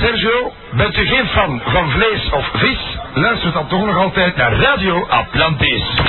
Sergio, bent u geen fan van vlees of vis? Luister dan toch nog altijd naar Radio Atlantis.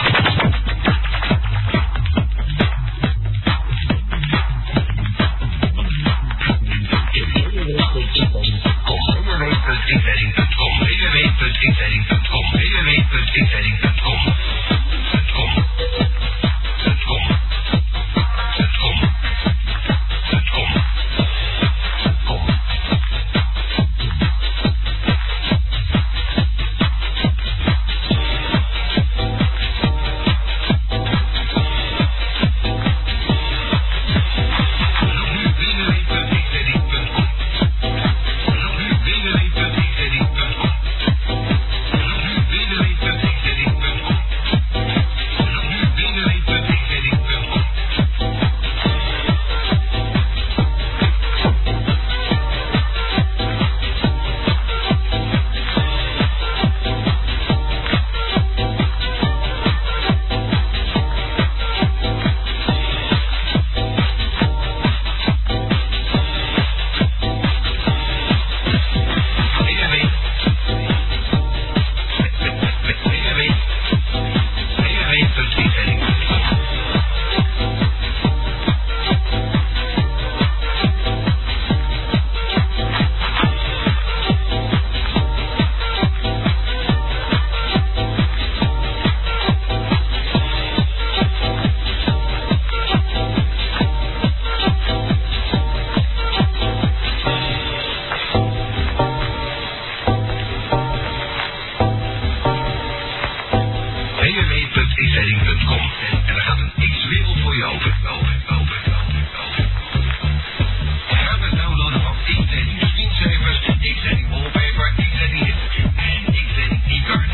www.xzetting.com en er gaat een X-wereld voor je open. Open, open, open, open. Ga met downloaden van X-zetting screensaver, X-zetting wallpaper, X-zetting hit en X-zetting e-card.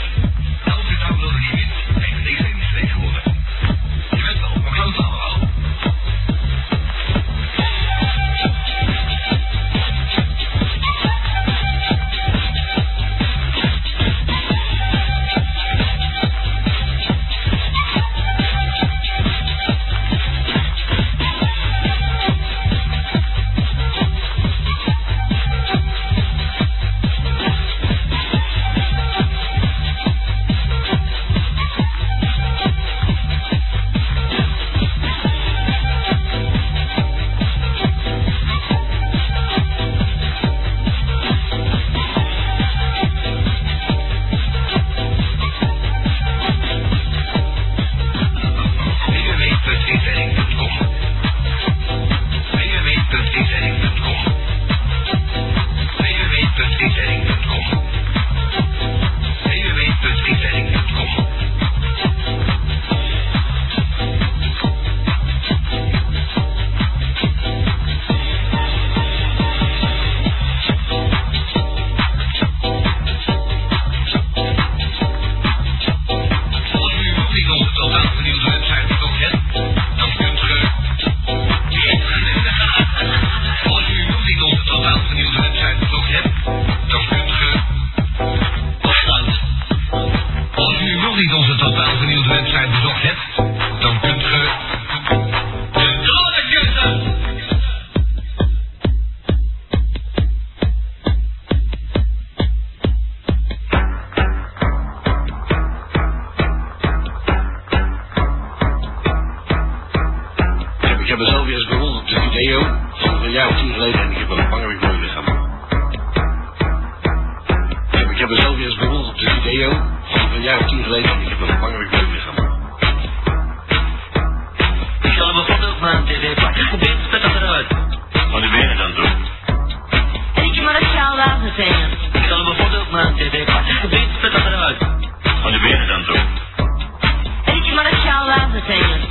Elke downloader die wint, heeft een X-zetting steek gewonnen. Je bent wel, maar klopt allemaal. www.xzetting.com www.xzetting.com www.xzetting.com www.xzetting.com Als u nog niet op de totaal vernieuwde website gekocht hebt, dan kunt u... Als u nog niet op de totaal vernieuwde website gekocht hebt, dan kunt u... Afsluiten. Als u nog niet onze totaal vernieuwde website bezocht hebt, dan kunt u... De tronen kussen! Ik heb, ik heb mezelf weer eens bewonderd op de video van een jaar of tien geleden en ik heb wel een bangerijk mooi lichaam. Ik heb, ik heb mezelf weer eens bewonderd op de video van een jaar of tien geleden en ik heb wel een bangerijk mooi lichaam. Ik zal hem bijvoorbeeld van een tv pakken. Dit spet dat eruit. Wat ben je dan doen? Ik moet het gauw laten zijn. Ik zal hem bijvoorbeeld van een tv pakken. Dit spet dat eruit. Wat ben je dan doen? Ik moet het gauw laten zijn.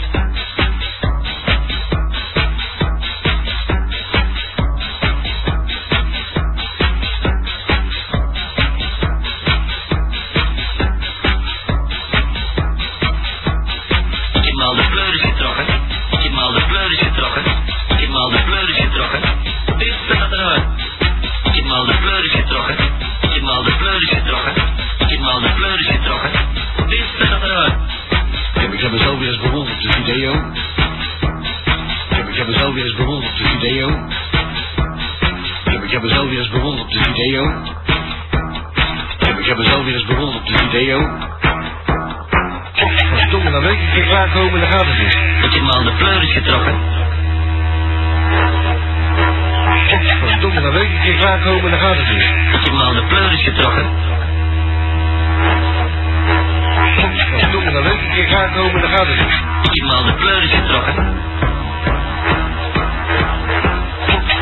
Ik heb me al de pleuris getrokken. Ik heb me al de pleuris getrokken. Ik heb me al de pleuris getrokken. Dit spet dat eruit. Ik heb me al de pleuris getrokken. Ik heb me al de pleuris getrokken. Ik heb me al de pleuris getrokken. Dit nou spet dat eruit. Ik heb, ik heb mezelf weer eens bewonderd op de video. Ik heb, ik heb mezelf weer eens bewonderd op de video. Ik heb, heb, ik heb mezelf weer eens bewonderd op de video. Ik heb, ik heb mezelf weer eens bewonderd op de video. Verdomme, dan weet ik weer klaarkomen en dan gaat het niet. Ik heb me al de pleuris getrokken. Verdomme, dan weet ik weer klaarkomen en dan gaat het niet. Ik heb me al de pleuris getrokken. Verdomme, dan weet ik weer klaarkomen en dan gaat het niet. Ik heb me al de pleuris getrokken.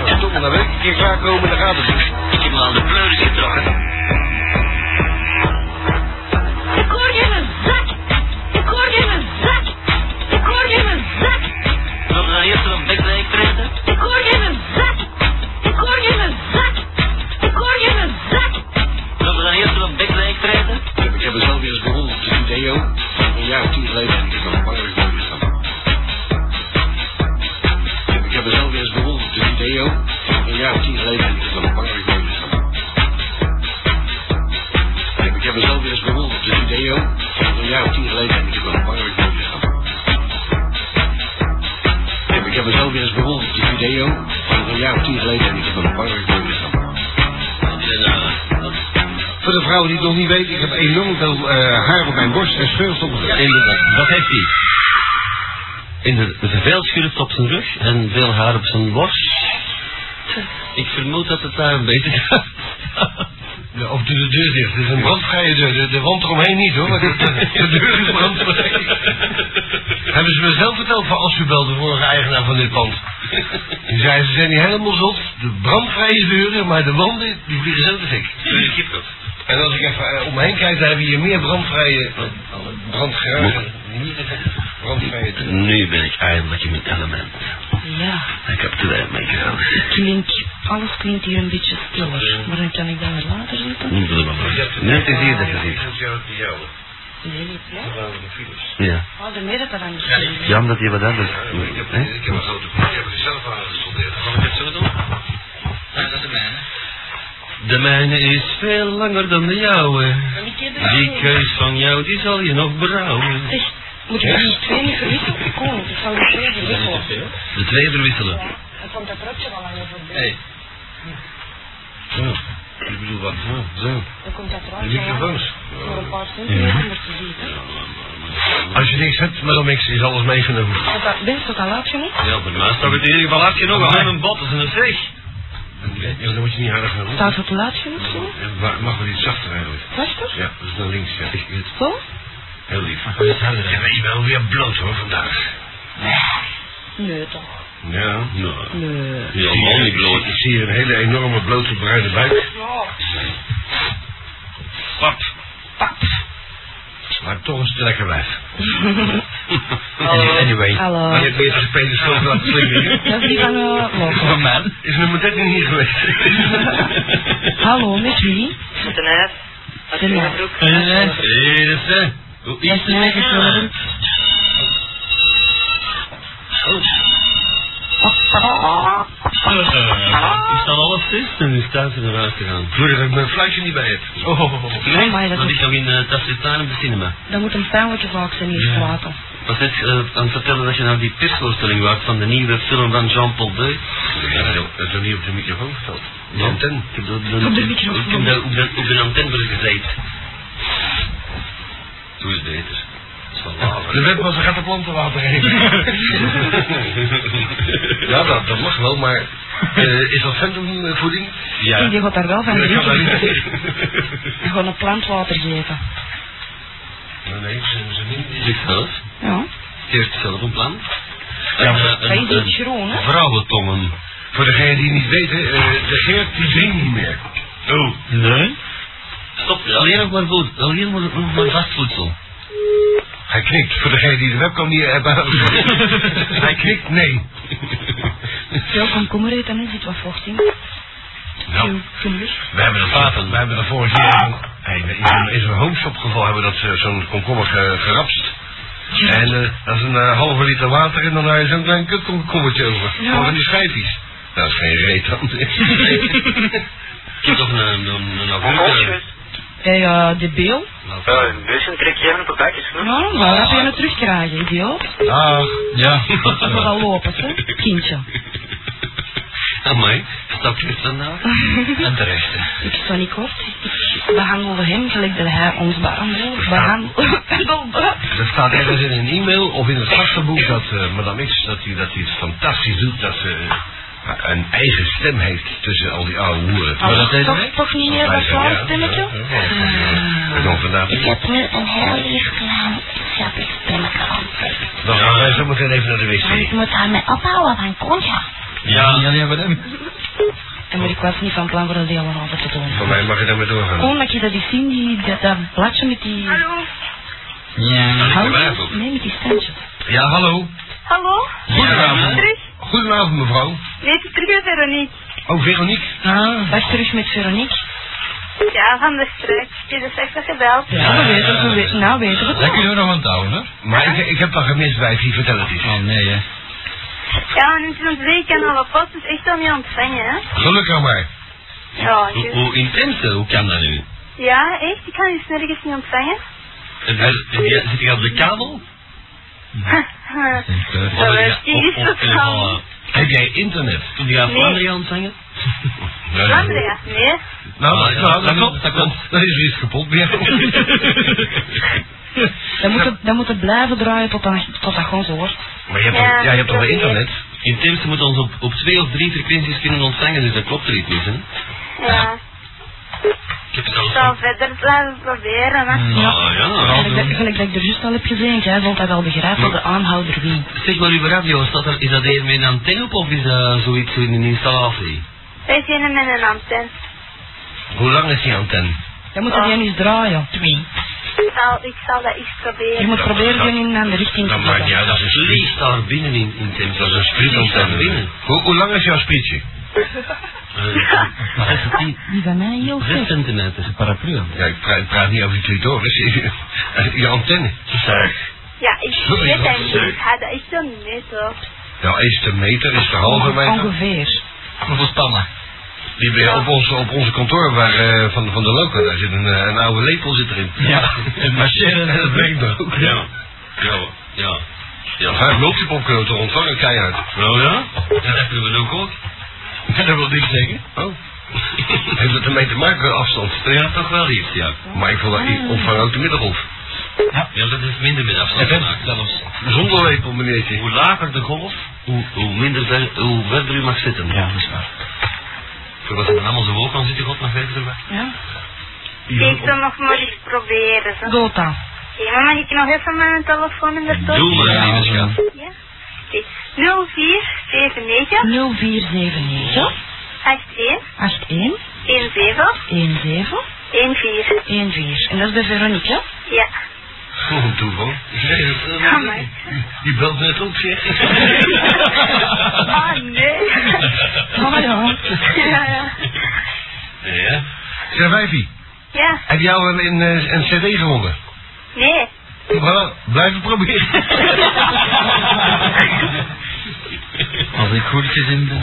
Verdomme, dan weet ik weer klaarkomen en dan gaat het niet. Ik heb me al de pleuris getrokken. Ik hoor je in mijn zak. Ik hoor je in mijn zak. Ik hoor je in mijn zak. Wat ga je zo'n bek bij kreten? Ik hoor je in mijn zak. Ik hoor je in mijn zak. Ik hoor je in mijn zak. Wat ga je zo'n bek bij kreten? Ik heb- Ik heb mezelf weer eens bewonderd op de video. Een jaar of tien geleden. Het is al lang dat ik nooit meer zag. Ik heb- Ik heb mezelf weer eens bewonderd op de video. Een jaar of tien geleden. Het is al lang dat ik nooit meer zag. Ik heb- Ik heb mezelf weer eens bewonderd op de video. Een jaar of tien geleden. Het is al lang dat ik nooit meer zag. Ik heb- Ik heb mezelf weer eens bewonderd op de video. Een jaar of tien geleden. Het is al lang dat ik nooit meer zag. Voor de vrouwen die het nog niet weten, ik heb enorm veel eh, haar op mijn borst en scheurstoppen in de rug. Dat heeft hij. In de, veel schurft op zijn rug en veel haar op zijn borst. Ik vermoed dat het daar een beetje gaat. Ja, of doe de deur dicht. Het is een brandvrije deur. De, de wand eromheen niet hoor. maar De, de- de deur is brandvrij. Hebben ze me zelf verteld van als u belde, de vorige eigenaar Nou, van dit pand. Die zei, ze zijn niet helemaal zot. De brandvrije deuren, maar de wanden, die vliegen zelf de fik. En als ik even eh, om me heen kijk, dan hebben we hier meer brandvrije... eh, Brandgaragen. Brandvrije deuren. Nu ben ik eindelijk in mijn element. Ja, Ik heb te weinig meegehouden. klinkt, alles klinkt hier een beetje stiller. Maar dan kan ik dan weer later zitten. Net is hier dat je ziet. Nee, niet hè? Ja. Oh, de meer dat er anders is. Ja, omdat je wat anders... Hè? heb een grote boek, ik heb er zelf aan gesoldeerd. Zal ik het zo doen? Ja, dat is mijn. De mijne is veel langer dan de jouwe. En ik heb er Die twee. keus van jou, die zal je nog berouwen. Zeg, moet je die twee niet verwisselen? Kom, ik zal die twee verwisselen. De twee verwisselen. Dan komt dat rotje wel langer voorbij. Hey. Zo. Ik bedoel wat? zo. Dan komt dat De rotje wel microfoons. voor een paar centimeter te zien. Als je niks hebt, maar dan niks, is alles meegenomen. Is dat best tot al laat genoeg? Ja, voor mij staat het in ieder geval afgenomen. Alleen mijn bot is een zeg. Ja, dan moet je niet harder gaan roepen. Staat het laat genoeg zo? Ja, maar Mag wel iets zachter eigenlijk. Zachter? Ja, dat is naar links, ja. Zo? Heel lief. Je bent wel weer bloot hoor, vandaag. Nee toch. Ja. Nou. Nee. Ja, man, niet bloot. Ik zie hier een hele enorme blote bruine buik. Pap. Maar toch is het lekker wijf. Hallo. Anyway. Hallo. Maar je hebt weer te spelen schuld laten slingen hier. Dat is die van eh, Loco. Is nummer 13 hier geweest? Hallo, met wie? De naaf. Hier is ze. Hoe is De naaf. het? Eh, Ik sta alles vast en ik sta ze eruit te gaan. Doe dat ik mijn fluitje niet bij heb. Oh. Nee, maar dat dat is- is nog in uh, Tassetaan op de cinema. Dat moet een pijnlijke zaak zijn hier verlaten. Was net eh, aan het vertellen dat je naar die persvoorstelling was van de nieuwe film van Jean-Paul Deu. Dat is nog niet op de microfoon verteld. Ja. Anten. Ik heb de, Op de microfoon. ik heb de, op de, op de antenne voor gezeten. Doe eens beter. De webmaster gaat de planten water geven. ja, dat, dat mag wel, maar eh, is dat phantomvoeding? Ik denk, die gaat daar wel van dat kan wel niet. drinken. Die gaat een plant water geven. Nee, nee, ze ze niet. Zichzelf. Ja. Heeft zelf een plan. Ja, maar- Eh, Hij een- is iets een- groen, hè? Vrouwentongen. Voor degenen die niet weten, eh, de Geert die drinkt niet meer. Oh. Nee? Stop, alleen nog maar voedsel. Alleen maar, nog maar vastvoedsel. Hij knikt. Voor degenen die de webcam niet hebben. Hij knikt, nee. Veel komkommer eet en er zit wat vocht in. Nou, Gelukkig. we hebben dat vaten. We hebben dat vorig jaar hey, in zo'n- in zo'n homeshop geval hebben we dat eh, zo'n komkommer ge- gerapst. En eh, dat is een eh, halve liter water en dan heb je zo'n klein kutkomkommertje over. Ja. Van die schijfjes. Nou, dat is geen reet dan. Ik heb toch een, een, een, een avontuur. Hey, eh, de beel. Ja, waar heb je hem terugkrijgen, idioot? Dag. Ja. Dat moet wel lopen, hè, kindje. Amai, gestopt vandaag. En terecht, hè. Ik sta niet kort. Ik behandelde hem gelijk dat hij ons behandelde. Behandelde. Er staat ergens in een e-mail of in het gastenboek dat eh, madame X dat hij dat die het fantastisch doet. Dat ze eh, een eigen stem heeft tussen al die oude hoeren. Maar Oh, dat deed hij toch- toch niet meer dat Vlaams stemmetje? Dan vandaag. Ik heb nu een heel lief klein schattig stemmetje aan. Dan gaan wij zo meteen even naar de Maar ik wc. moet daarmee ophouden van Conja. Ja, Ja, ja, madame. En maar ik was niet van plan voor dat helemaal te doen. voor mij mag je daarmee doorgaan. Gewoon dat je dat die zien, die, dat, dat bladje met die... Hallo? Ja. Goedenavond. Nee, met die standjes. Ja, hallo. Hallo? Goedenavond. Terug? Goedenavond, mevrouw. Nee, het is terug, Veronique. Oh, Veronique. Ah. Dag terug met Veronique. Ja, van de straat. Je is echt gebeld. Ja, we weten, we weten, nou weten we het Daar wel. kunnen we nog aan touwen, hoor. Maar ik, ik heb dat gemist, wijfie. Vertel het eens. Oh, nee, hè. Ja, want het is een zeekanalen post, dus echt al niet ontvangen, hè? Gelukkig maar. Ja, ik- intens, hoe kan dat nu? ja echt? Ik kan je nergens niet ontvangen. Zit hij op de kabel? Dat werkt hier zo snel. Heb jij internet? Kun je aan Nee. Vlaanderen ontvangen? Andrea, nee. Nou, Ah, ja, nou, dat dat klopt, dat klopt. Dat is weer kapot bij jou. Dan moet, het, dan moet het blijven draaien tot dat, tot dat gewoon zo wordt. Maar je hebt, Ja, al- ja, je hebt al dat wel internet? In Temse moeten ons op, op twee of drie frequenties kunnen ontvangen, dus dat klopt er iets niet, hè? Ja, Ik heb ik zal verder blijven proberen, hè. Hmm. Ah, ja. Nou, Gelijk dat- gelijk dat ik er juist al heb gezegd, jij zult dat wel begrijpen, de aanhouder wint. Zeg maar, uw radio, staat er, is dat hier met een antenne op of is dat zoiets in een installatie? Wij zijn er met een antenne. Hoe lang is die antenne? Dan moet dat jij nu eens draaien. Ah. Twee. Ik zal, ik zal dat eens Je proberen. moet proberen die in een andere richting te Dat maakt niet zetten. uit, dat is een spriet. Ligt daar binnen in, in Temse. Dat is een sprietantenne. binnen. Eh, Hoe, hoe lang is jouw sprietje? Die van mij heel Zes ver. centimeter. Paraplu aan. Ja, ik praat, ik praat niet over je clitoris. je antenne. Ja, ik Sorry, weet dat dat is leuk. niet. Ik ga dat echt wel niet mee, toch? Ja, is de meter, is de halve meter. Ongeveer. Hoeveel spannen? Die bij- op, ons, op onze kantoor waar, eh, van, van de loco, daar zit een, eh, een oude lepel zit erin. Ja. En marcheren. En dat brengt er ook. Ja. Ja. Ja. Ja, Vijf multipop kunnen te ontvangen, keihard. Nou ja, dat hebben we nog ook. Dat wil niet zeggen. Oh. Heeft dat ermee te maken, afstand? Ja, toch wel iets, ja. Maar ik wil dat ik ontvang ook de middengolf. Ja, dat is minder met afstand te maken. zelfs. Zonder lepel, meneertje. Hoe lager de golf, hoe, hoe minder ver, hoe verder u mag zitten. Ja, dat is waar. Zodat we allemaal zo hoog kan zitten, God, nog verder weg. Ja. Ik zal nog maar eens proberen, zo. Doe dat. Oké, maar mag ik nog even mijn telefoon in de top? Doe maar, lieve schat. Ja. Oké. 0479 0479 81 81 17 17 14. 14. En dat is bij Veronique, hè? Ja. Voor een toeval. eh, Ja, maar. Die belt net op, zeg. Ah, nee. Ah ja. ja, ja. Ja. Zeg, wijfie, Ja, heb jij al een, een, eh, een cd gewonnen? nee. Voilà, blijf het proberen. Als ik goed gezien ben. Oh,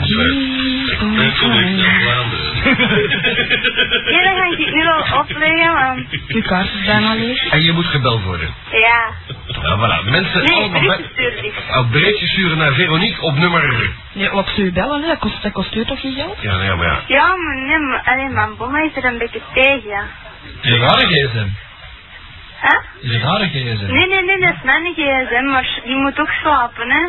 Ja, dat ga ik nu al opleggen, want... Uw kaart is bijna leeg. En je moet gebeld worden. Ja. Nou, voilà. Mensen Nee, allemaal... bij- terug gestuurd is. Oh, berichtjes sturen naar Veronique op nummer... Nee, wat zou u bellen, hè? Dat kost, dat kost u toch geen geld? Ja, nee, maar ja. Ja, maar nee, maar... Allee, mijn bomma is er een beetje tegen, ja. Is het haar gsm? Huh? Is het haar gsm? Nee, nee, nee, dat is mijn gsm, maar die moet ook slapen, hè.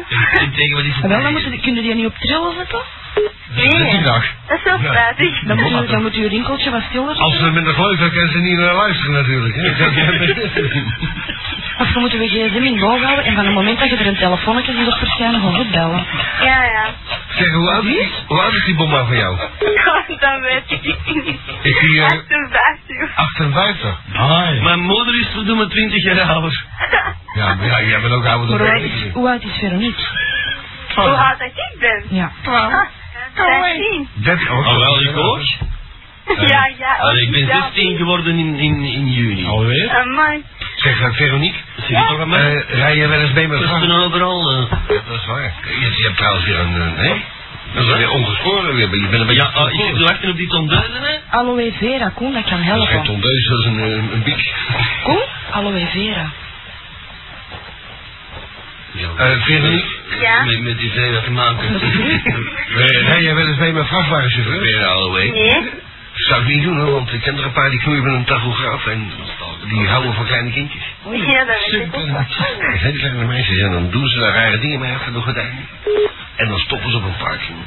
Tegen wat is En wel, dan moeten die- kunnen die niet op trillen zetten? Dat is Nee, dag. dat is wel Ja. spijtig. Dan moet u, dan moet u uw rinkeltje wat stiller Als ze zetten. het minder geloven, kunnen ze niet naar luisteren natuurlijk. Hè? Of dan moeten we gsm in boog houden en van het moment dat je er een telefoonnetje ziet op verschijnen, gewoon goed bellen. Ja, ja. zeg, hoe oud, is, hoe oud is die bomma van jou? dat weet ik niet. Is die eh, 58. 58? Ah, ja. Mijn moeder is verdomme 20 jaar ouder. Ja, maar ja, jij bent ook ouder dan Maar hoe oud ik. is, hoe oud is Veronique? Hoe oud dat ik ben? Ja. Ah, 13. 13 oh, Oh, wel, ik ook. Ja, ja. Allee, ik ben ja. 16 geworden in, in, in juni. Alweer? Amai. Zeg, eh, Veronique, Zie je toch aan mij? eh, rij je wel eens mee met Kusten vrouwen? overal. eh. Ja, dat is waar. Je, je hebt trouwens weer een... eh, hè? Dat is weer ongeschoren. weer. Je bent een beetje... Ja, ah, ik zit te wachten op die tonduizen, hè. Aloe vera, Koen, dat kan dat is geen helpen. tondeus, dat is een, eh, een biek. Koen? Aloe vera. Ja, Eh, Veronique, Ja? Met, met die zee dat maken. eh, rij jij wel eens mee met vrachtwagens, chauffeur? Weer alle week. Nee? Zou ik niet doen, hoor, want ik ken er een paar die knoeien met een tachograaf en die houden van kleine kindjes. Ja, dat weet ik ook wel. Er zijn kleine meisjes en dan doen ze daar rare dingen mee achter de gordijnen. En dan stoppen ze op een parking.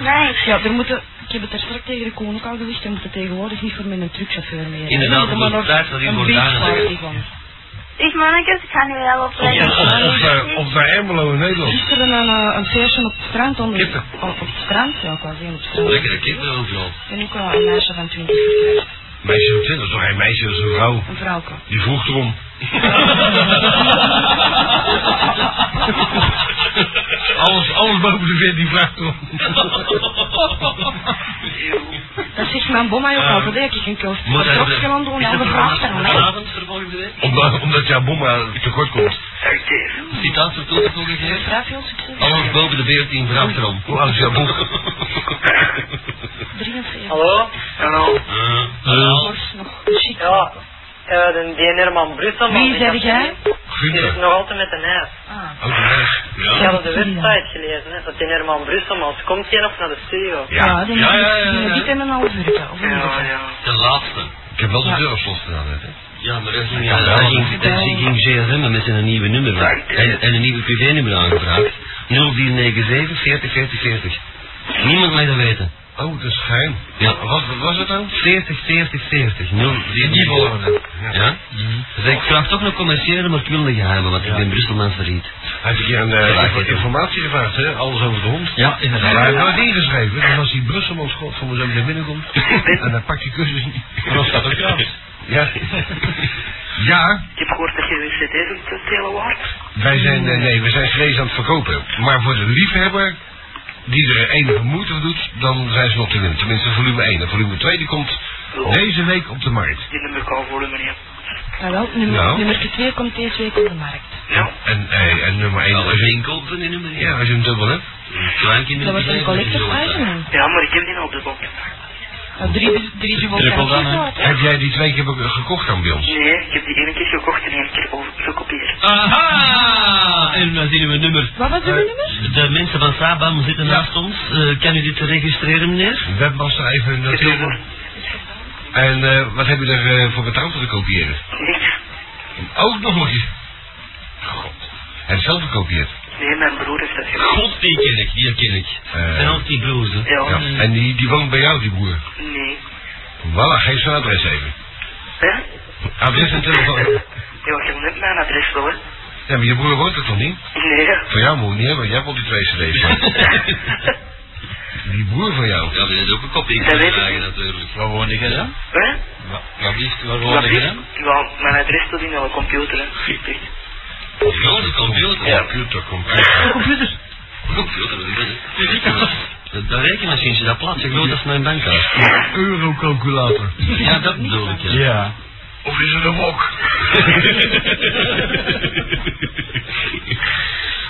Nee. Ja, er moeten, ik heb het er straks tegen de koning al gezegd, er moeten tegenwoordig niet voor met een truckchauffeur meer. Inderdaad, Er moet dat is tijd dat die een wordt aangezet. beachparty van. Zeg mannetjes, ik ga nu wel opletten. Of daar, of daar Ermelo in Nederland. Gisteren een, eh, een feestje op het strand. Onder, Kippen. Op, op het strand, ja, ik wou zeggen op het strand. Lekkere kinderen overal. En ook eh, een meisje van 20 verkrijgt. Meisje van 20, toch geen meisje, dat is een vrouw. Een vrouwke. Die vroeg erom. alles, alles boven de vent die vraagt erom. Dat zegt mijn bomma ook altijd, hè, ik geen koos. Ah. Moet Wat trots gaan doen, Is dan dat gevraagd aan vanavond- mij. Vanavond vervolgens de week? Omdat, omdat jouw bomma tekort komt. Citaat voor toegevoegd heeft. Ja, veel succes. Alles boven de 14 vraagt erom. Hoe oud is jouw boek? 43. Hallo? Hallo. Hallo. Nog- nog chic. Ja, eh, de BNR man Brussel. man, Wie die zeg gaat- jij? Die zit Gunther. nog altijd met een ijs. Ah. Oud en wijs. Ik Ja. had op de eh, website gelezen, hè, dat die Herman Brusselmans komt hier nog naar de studio. Ja, Ja. die Ja, ja, ja, ja, ja. dit en een half uur. Of een uur. ja. De laatste. Ik heb wel de Ja. deur op slot gedaan net, hè. Ja, maar dat ging Ja, daar ging, daar ging GSM en met een nieuwe nummer van. En, en een nieuwe privé-nummer aangevraagd. 0497 40 40 40. Niemand mag dat weten. Oh, dat is geheim. Ja. Wat, wat was het dan? 40 40 40. 0, Die volgen we. Ja? Dus ik vraag toch een commerciële, maar ik wil een geheime, want ik ben Brusselman failliet. Hij heeft een keer een eh, Ja, info- ik- informatie gevraagd, hè? Alles over de hond. Ja, Maar hij heeft nooit ingeschreven, dan was hij Brusselmans god van me zo meteen binnenkomt. en dan pakt hij kussens niet. Dan staat er trouwens. Ja. Ja, Ik heb gehoord dat je een cd's aan het telen waard. wij zijn, eh, nee, we zijn cd's aan het verkopen. Maar voor de liefhebber, die er enige moeite voor doet, dan zijn ze nog te winnen. Tenminste, volume 1. En volume 2 die komt deze week op de markt. Die nummer kan voor meneer. Ja, Ah, wel, nummer, Ja. nummer 2 komt deze week op de markt. Ja. En, eh, en nummer 1, Alle als je, winkel van die nummer. ja, als je hem dubbel hebt. Frankie Dat wordt een collector's item. Ja, maar ik heb die al dubbel. Ja, Ah, drie, drie Triple dan, hè. dubbelkaartjes. Heb jij die twee keer be- gekocht dan bij ons? Nee, ik heb die één keer gekocht en één keer over- gekopieerd. Aha! En dan zien we een nummer. eh, Wat was uw nummer? De mensen van Sabam zitten Ja. naast ons. Eh, kan u dit registreren, meneer? Webmaster even noteren. En eh, wat heb je er eh, voor betaald om te kopiëren? Niks. Ook nog eens. God. Hij heeft zelf gekopieerd. Nee, mijn broer heeft dat gedaan. God, die ken ik, die ken ik. Eh. En ook die blouse. Ja. Ja. En die, die woont bij jou, die broer. Nee. Voilà, geef zijn adres even. Hè? Adres en telefoon. Ja, ik heb net mijn adres wel, hè. Ja, maar je broer woont er toch niet? Nee. Voor jou moet het niet hebben, jij hebt al die twee cd's. maar die broer van jou. Ja, dat is ook een kopie. Dat weet ik vragen niet. natuurlijk. Waar woon je dan? Hè? Waar liefst, waar Wat woon je is? dan? Ja, mijn adres staat in de computer, hè. Super. Ja, de computer. Ja. Computer, computer. computer. Computer, dat is het. Dat rekenmachientje, dat plaatst je groot als mijn bankkaart. Eurocalculator. Ja, dat bedoel ik. Ja. Of is het een wok?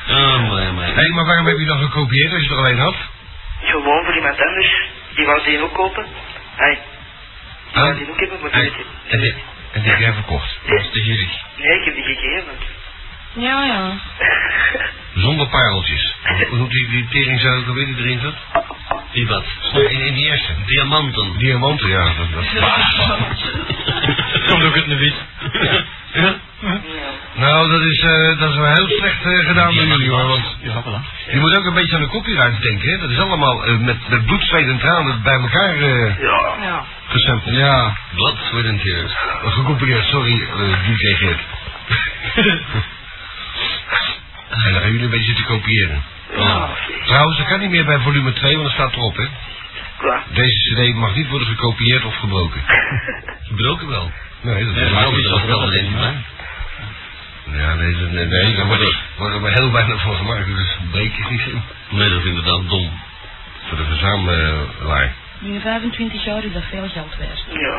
Oh, mooi, mooi. Hé, maar waarom heb je dan gekopieerd als je er alleen had? Gewoon voor iemand anders. Die wou die ook kopen. Hij. Die wou die ook hebben, maar die Hey, weet het. En die, en die heb jij verkocht. Dat is te gierig. Nee, ik heb die gegeven. Ja, ja. Zonder pareltjes. Hoe noemt die, die tering zou ik alweer die erin zat? Die wat? In, in die eerste. Diamanten. Diamanten, ja. Dat, dat. Komt ook uit de wit. Ja. Ja. Nou, dat is, eh, dat is wel heel slecht eh, gedaan door jullie hoor. Want Ja, voilà. je moet ook een beetje aan de copyright denken. Hè? Dat is allemaal eh, met, met bloed, zweet en tranen bij elkaar eh Ja. ja. gestempeld. Ja, Wat voor een keer. gekopieerd, sorry, eh DJ Geert. en dan gaan jullie een beetje te kopiëren. Ja. Trouwens, dat kan niet meer bij volume 2, want dat staat erop hè. Ja. Deze cd mag niet worden gekopieerd of gebroken. Gebroken wel. Nee, dat Ja, is maar ook iets wel. wat wel erin. Ja, nee, dat- nee, nee, daar wordt er- wordt er maar heel weinig van gemaakt. Dus breek is niet zo. Nee, dat is inderdaad dom. Voor de verzamelaar. Binnen 25 jaar is dat veel geld waard. Ja.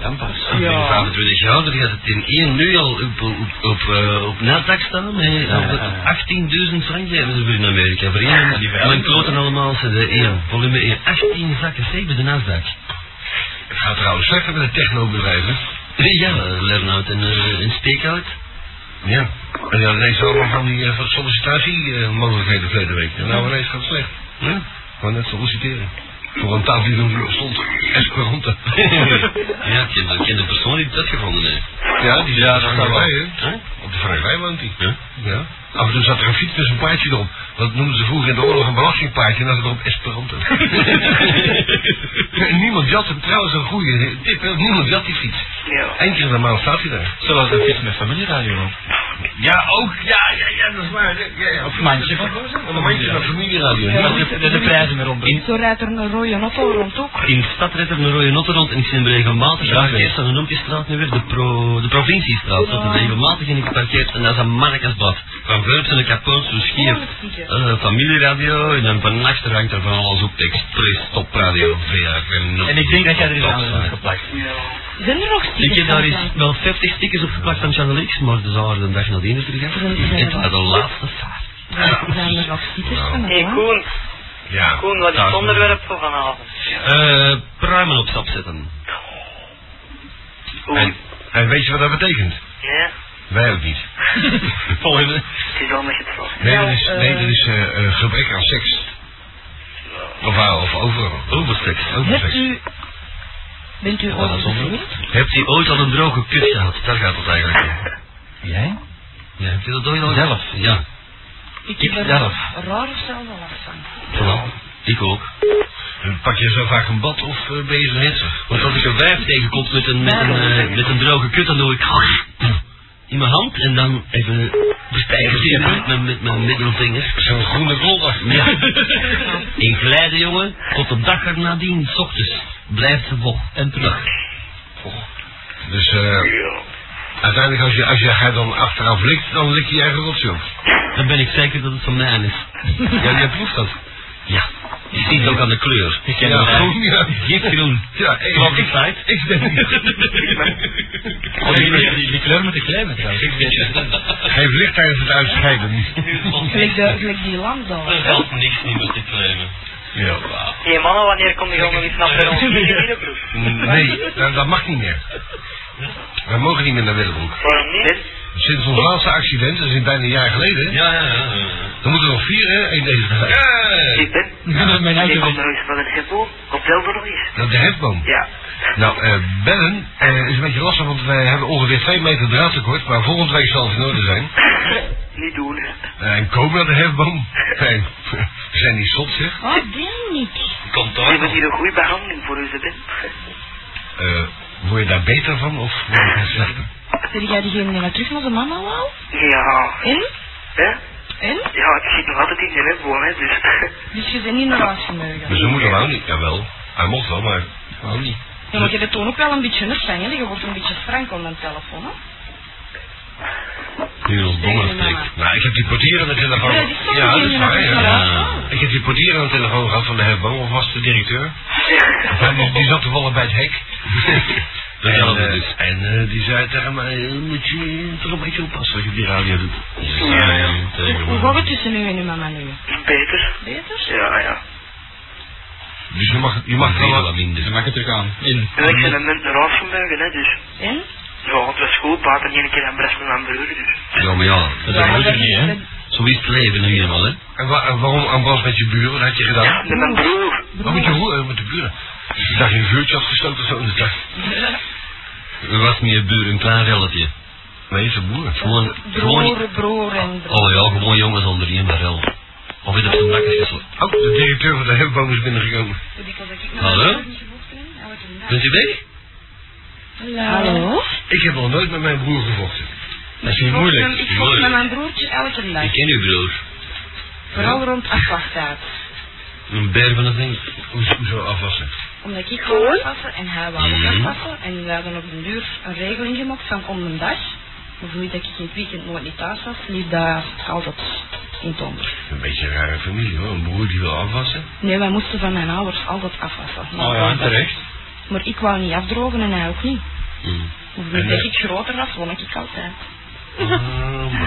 Dan pas. Ja. Ja. 25 jaar, dan gaat het in één nu al op, op, op, eh, op Nasdaq staan. hè. Op- op 18.000 frank hebben ze voor in Amerika. Voor één, mijn kloten allemaal, de 1, volume 1. 18 zakken C bij de Nasdaq. Het gaat trouwens slechter met de technobedrijven. Ja, Lernout en, eh, en Steekhout. Ja. En ja, ineens allemaal van die eh, van sollicitatiemogelijkheden verleden week. En nou ineens gaat het slecht. Ja. Gewoon net solliciteren. Voor een tafel die er stond. Esperanto. Ja, ik ken de, ik ken de persoon die dat gevonden heeft. ja, die zat er wel. bij, hè? Op de Frankrijk woont hij. Ja. Af en toe zat er een fiets met een paardje erop. Dat noemden ze vroeger in de oorlog een belastingpaardje en dat is erop Esperanto. En niemand jat hem trouwens een goede tip, hè? Niemand jat die fiets. Ja. Eén keer in de maand staat hij daar. Zoals dat is met familieradio. Ja, ook. Ja, ja, ja, dat is waar. Ja, ja. Of mandje van- Een mandje van familieradio. Ja, de, de, de prijzen meer onder. Zo rijdt er een rode auto rond ook. In de stad rijdt er een rode notte rond en ik zie hem regelmatig. Ja, eerst aan de noemt die straat nu weer, de, pro, de provinciestraat. Dat is regelmatig in geparkeerd en dat is een markasbad. Van Wurpsen en Capoons, dus Oh, hier eh, familieradio en dan van achter hangt er van alles op. Express, topradio, VFM. En ik denk dat jij er iets Top, anders aan eh. hebt geplakt. Zijn er nog stickers? Ik heb daar eens van? wel 50 stickers op geplakt van Channel X, maar ze zouden de dag nadien weer terug hebben. En dat was de laatste vaart. Ja, Zijn er nog stickers van? Hé, hè? Koen. Ja. Nou, Koen, wat is het Dag. onderwerp voor vanavond? Eh, pruimen op stap zetten. En, Oei. en weet je wat dat betekent? Ja, Wij ook niet. Volgende. het is al met het vast. Nee, Nou, dat is, eh, nee, dat is eh, eh, gebrek aan seks. Of, eh, of over, Overstek. Hebt overseks. u... Oh, Bent u ooit bevloerd? Hebt u ooit al een droge kus gehad? Daar gaat het eigenlijk om. Jij? Ja, heb je dat ooit al Zelf? Ja. Ik Ik heb er zelf. raar of zelf wel last van. Voilà. Ik ook. Dan Pak je zo vaak een bad of eh, ben je zo hitsig? Want als ik een wijf tegenkom met een, met een, eh, met een droge kut, dan doe ik... In mijn hand en dan even bestijgen met mijn, met mijn middelvinger. Zo'n groene kolder. Ja. In glijden, jongen, tot de dag er nadien, s ochtends, blijft ze vol. En terug. Dus eh, uiteindelijk als je, als je haar dan achteraf likt, dan lik je je eigen rotzooi op. Dan ben ik zeker dat het van mij is. Ja, jij proeft dat. Ja. Je ziet het ook aan de kleur. Ik ken ja, ja, groen, ja. Gifgroen. Ja, ik, Klopt ik, het ik denk die, die, die kleur moet ik klemmen trouwens. Geef licht tijdens het uitscheiden. Gelijk de- gelijk die lamp daar. valt niks niet met dit claimen. Ja. Hé mannen, wanneer kom je gewoon nog eens naar Veron? Nee, dat, dat mag niet meer. Wij mogen niet meer naar Willebroek. Waarom niet? Sinds ons laatste accident, dat is bijna een jaar geleden, Ja, ja, ja. dan moeten er nog vier hè, in deze tijd. Ik ben. Mijn Ik auto kom weg. nog eens van het hippo. Op Delder nog eens. Dat is de hefboom. Ja. Nou, eh, bellen eh, is een beetje lastig, want wij hebben ongeveer twee meter draadtekort, maar volgende week zal het in orde zijn. Niet doen. hè. Eh, en komen naar de hefboom. Nee, we zijn die zot zeg. Oh, die niet. Komt We hebben door. hier een goede behandeling voor onze ben. Eh, word je daar beter van of word je daar slechter? Zeg jij diegene die naar terug naar zijn mama wou? Ja. En? Hè? En? Ja, ik zit nog altijd in de hippo, hè. Dus. Dus je bent niet naar huis gemogen. Dus ze moeten wou niet, jawel. Hij mocht wel, maar wou niet. Ja, maar je bent toen ook wel een beetje nerveus, hè? Je wordt een beetje frank aan de telefoon, hè? Nu ons domme domme spreekt. Nou, ik heb die portier aan de telefoon. Ja, Ja, die staat dat hier is in waar. de ja. restaurant. Ik heb die portier aan de telefoon gehad van de hefboom, of was het de directeur? Ja, die, die zat toevallig bij het hek. Dat en hadden we eh, dus. en eh, die zei tegen mij, eh, moet je toch een beetje oppassen wat je op die radio doet. Ja, ja, Hoe- Hoe gaat het tussen u en uw mama nu? Beter. Beter? Ja, ja. Dus je mag, je mag wel... Hele minder. Dan maak ik het terug aan. In. En ik ben een munt naar huis gemogen, hè. Dus. En? Ja, het was goed. Pater één keer aan Brest met mijn broer. Dus. Ja, maar ja, dat Ja, maar moet je dat is- niet, hè. Zo is het leven nu eenmaal, hè. En, wa- en waarom aan Bas met je buren? Wat had je gedaan? Met mijn broer. Wat met je hoeren? eh, Met de buren? Ik dacht je een vuurtje had gestoken of zo in de dag. Er was niet een buur, een klein relletje. Nee, zijn boer. Gewoon, gewoon... Broer, broer en broer. Oh ja, gewoon jongens onder één barrel. Of je hebt zijn bakkers geslagen. Oh, de directeur van de hefboom is binnengekomen. Hallo? Bent u weg? Hallo? Ik heb nog nooit met mijn broer gevochten. Dat is niet Ik vocht met mijn broertje elke dag. Ik ken uw broer. Vooral rond afwachttijd. Een beer van een vink. Hoe- Hoezo afwassen? Omdat ik wou afpassen en hij wou ook Mhm. afpassen. En we hadden op den duur een regeling gemaakt van om een dag. Bijvoorbeeld dat ik in het weekend nooit niet thuis was, liep daar altijd in het onder. Een beetje een rare familie hoor. Een broer die wil afwassen. Nee, wij moesten van mijn ouders altijd afwassen. Oh ja, terecht. Maar ik wou niet afdrogen en hij ook niet. Hmm. Bijvoorbeeld En, eh, dat ik groter was, won ik altijd. Oh,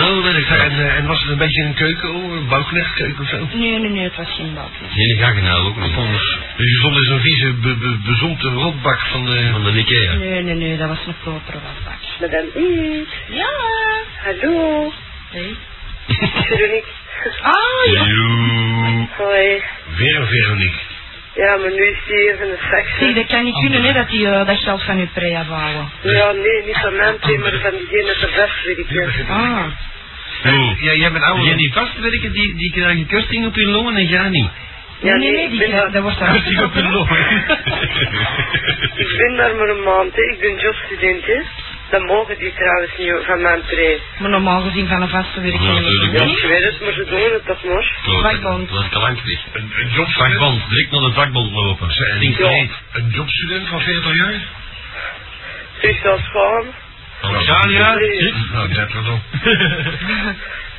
zo werkt dat. En, eh, en was het een beetje een keuken, oh, een bouwknechtkeuken of zo? Nee, nee, nee, het was geen balkjes. Hele gaggenaal ook nog. nou Dus je vond dus een vieze, be, be, bezompte rotbak van de... Van de Ikea. Nee, nee, nee, dat was een koperen wasbak. Madame Yves, Ja. hallo. Hey. Veronique. Ah, ja. Hoi. Weer een Veronique. Ja, maar nu is die even een Zeg, faxje. dat kan niet kunnen, hè, dat die eh, dat geld van uw prei afhouden. Ja, nee, niet van mijn twee, maar van diegene met de vest, weet ik niet. Ah. Hey, ja, jij bent ouder. Jij die vastwerken, die, die krijgen korting op hun longen en ga niet. Ja, nee, nee, nee, ik die, ben dat, daar- dat wordt daar. Die op hun longen. Ik ben daar maar een maand, hè. Ik ben jobstudent, hè. Dan mogen die trouwens niet van mijn twee. Maar normaal gezien van een vaste werk. Ja, natuurlijk Ja, wel. ik weet het, maar ze doen het toch nog. Vakbond. Dat is kalankerig. Een, een jobstudent. Vakbond, direct naar de vakbond lopen. Stinkt Ja. heet. Een jobstudent van 40 jaar? Dus dat is gewoon. Australia, Nee. Nou, dat wordt op.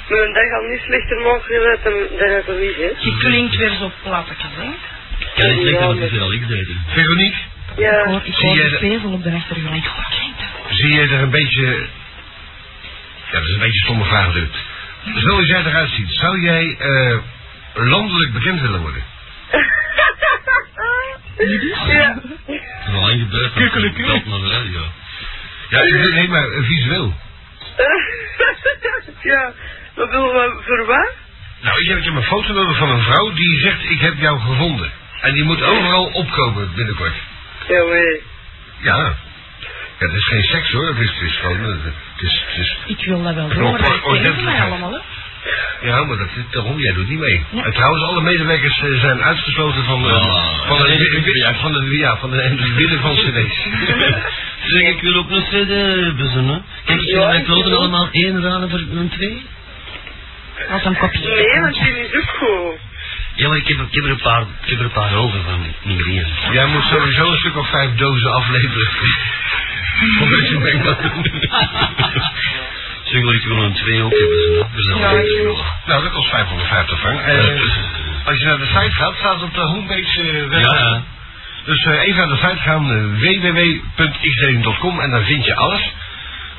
Maar dat gaat niet slechter mogen dat hem- dat het er niet is. Je klinkt weer zo plattekes, hè. kan niet slechter, want het is wel ik deden. Veronique, Ik Ja, hoor, ik Zie hoor jij die dat- pezel op de achtergrond. Ik hoor, klinkt dat? zie jij er een beetje... Ja, dat is een beetje een stomme vraag natuurlijk. Zoals jij eruit ziet, zou jij eh, landelijk bekend willen worden? ja. Dat is al lang gebeurd. Kukkeleku. Dat naar de radio. Ja, ik bedoel, nee, maar eh, visueel. ja. Maar wil we voor wat? Nou, ik heb, ik heb een foto nodig van een vrouw die zegt, ik heb jou gevonden. En die moet overal opkomen binnenkort. Ja, maar... Ja. Ja, het is geen seks hoor, het is, het is gewoon... eh, Het is, het is, Ik wil dat wel Ik doen, maar hoor dat kennen mij ordentelijkheid. allemaal, hè. ja, maar dat is daarom, jij doet niet mee. Ja. En trouwens, alle medewerkers eh, zijn uitgesloten van... eh, Ah. van, Ja, de, ik ben ja, van, de, ja, van de, en het winnen van cd's. Zeg, ik wil ook eh, een CD bezonnen. Kijk, ik Ja, wil mijn ik wil kloten ook. allemaal één raden voor een twee. Als een kopje. Nee, want die is ook goed. Ja, maar ik heb, ik heb er een paar, ik heb er een paar over van, nummer één. Jij moet sowieso een stuk of vijf dozen afleveren. Van deze meemaken. Zeg, wil ik wil een twee ook hebben bezonnen. Voor zelf Ja, één ik te wil- vullen. Nou, dat kost 550 frank. Eh, als je naar de site gaat, staat het op de homepage eh, Ja, web. ja. Dus eh, even naar de site gaan, eh, www.xdeling.com en dan vind je alles.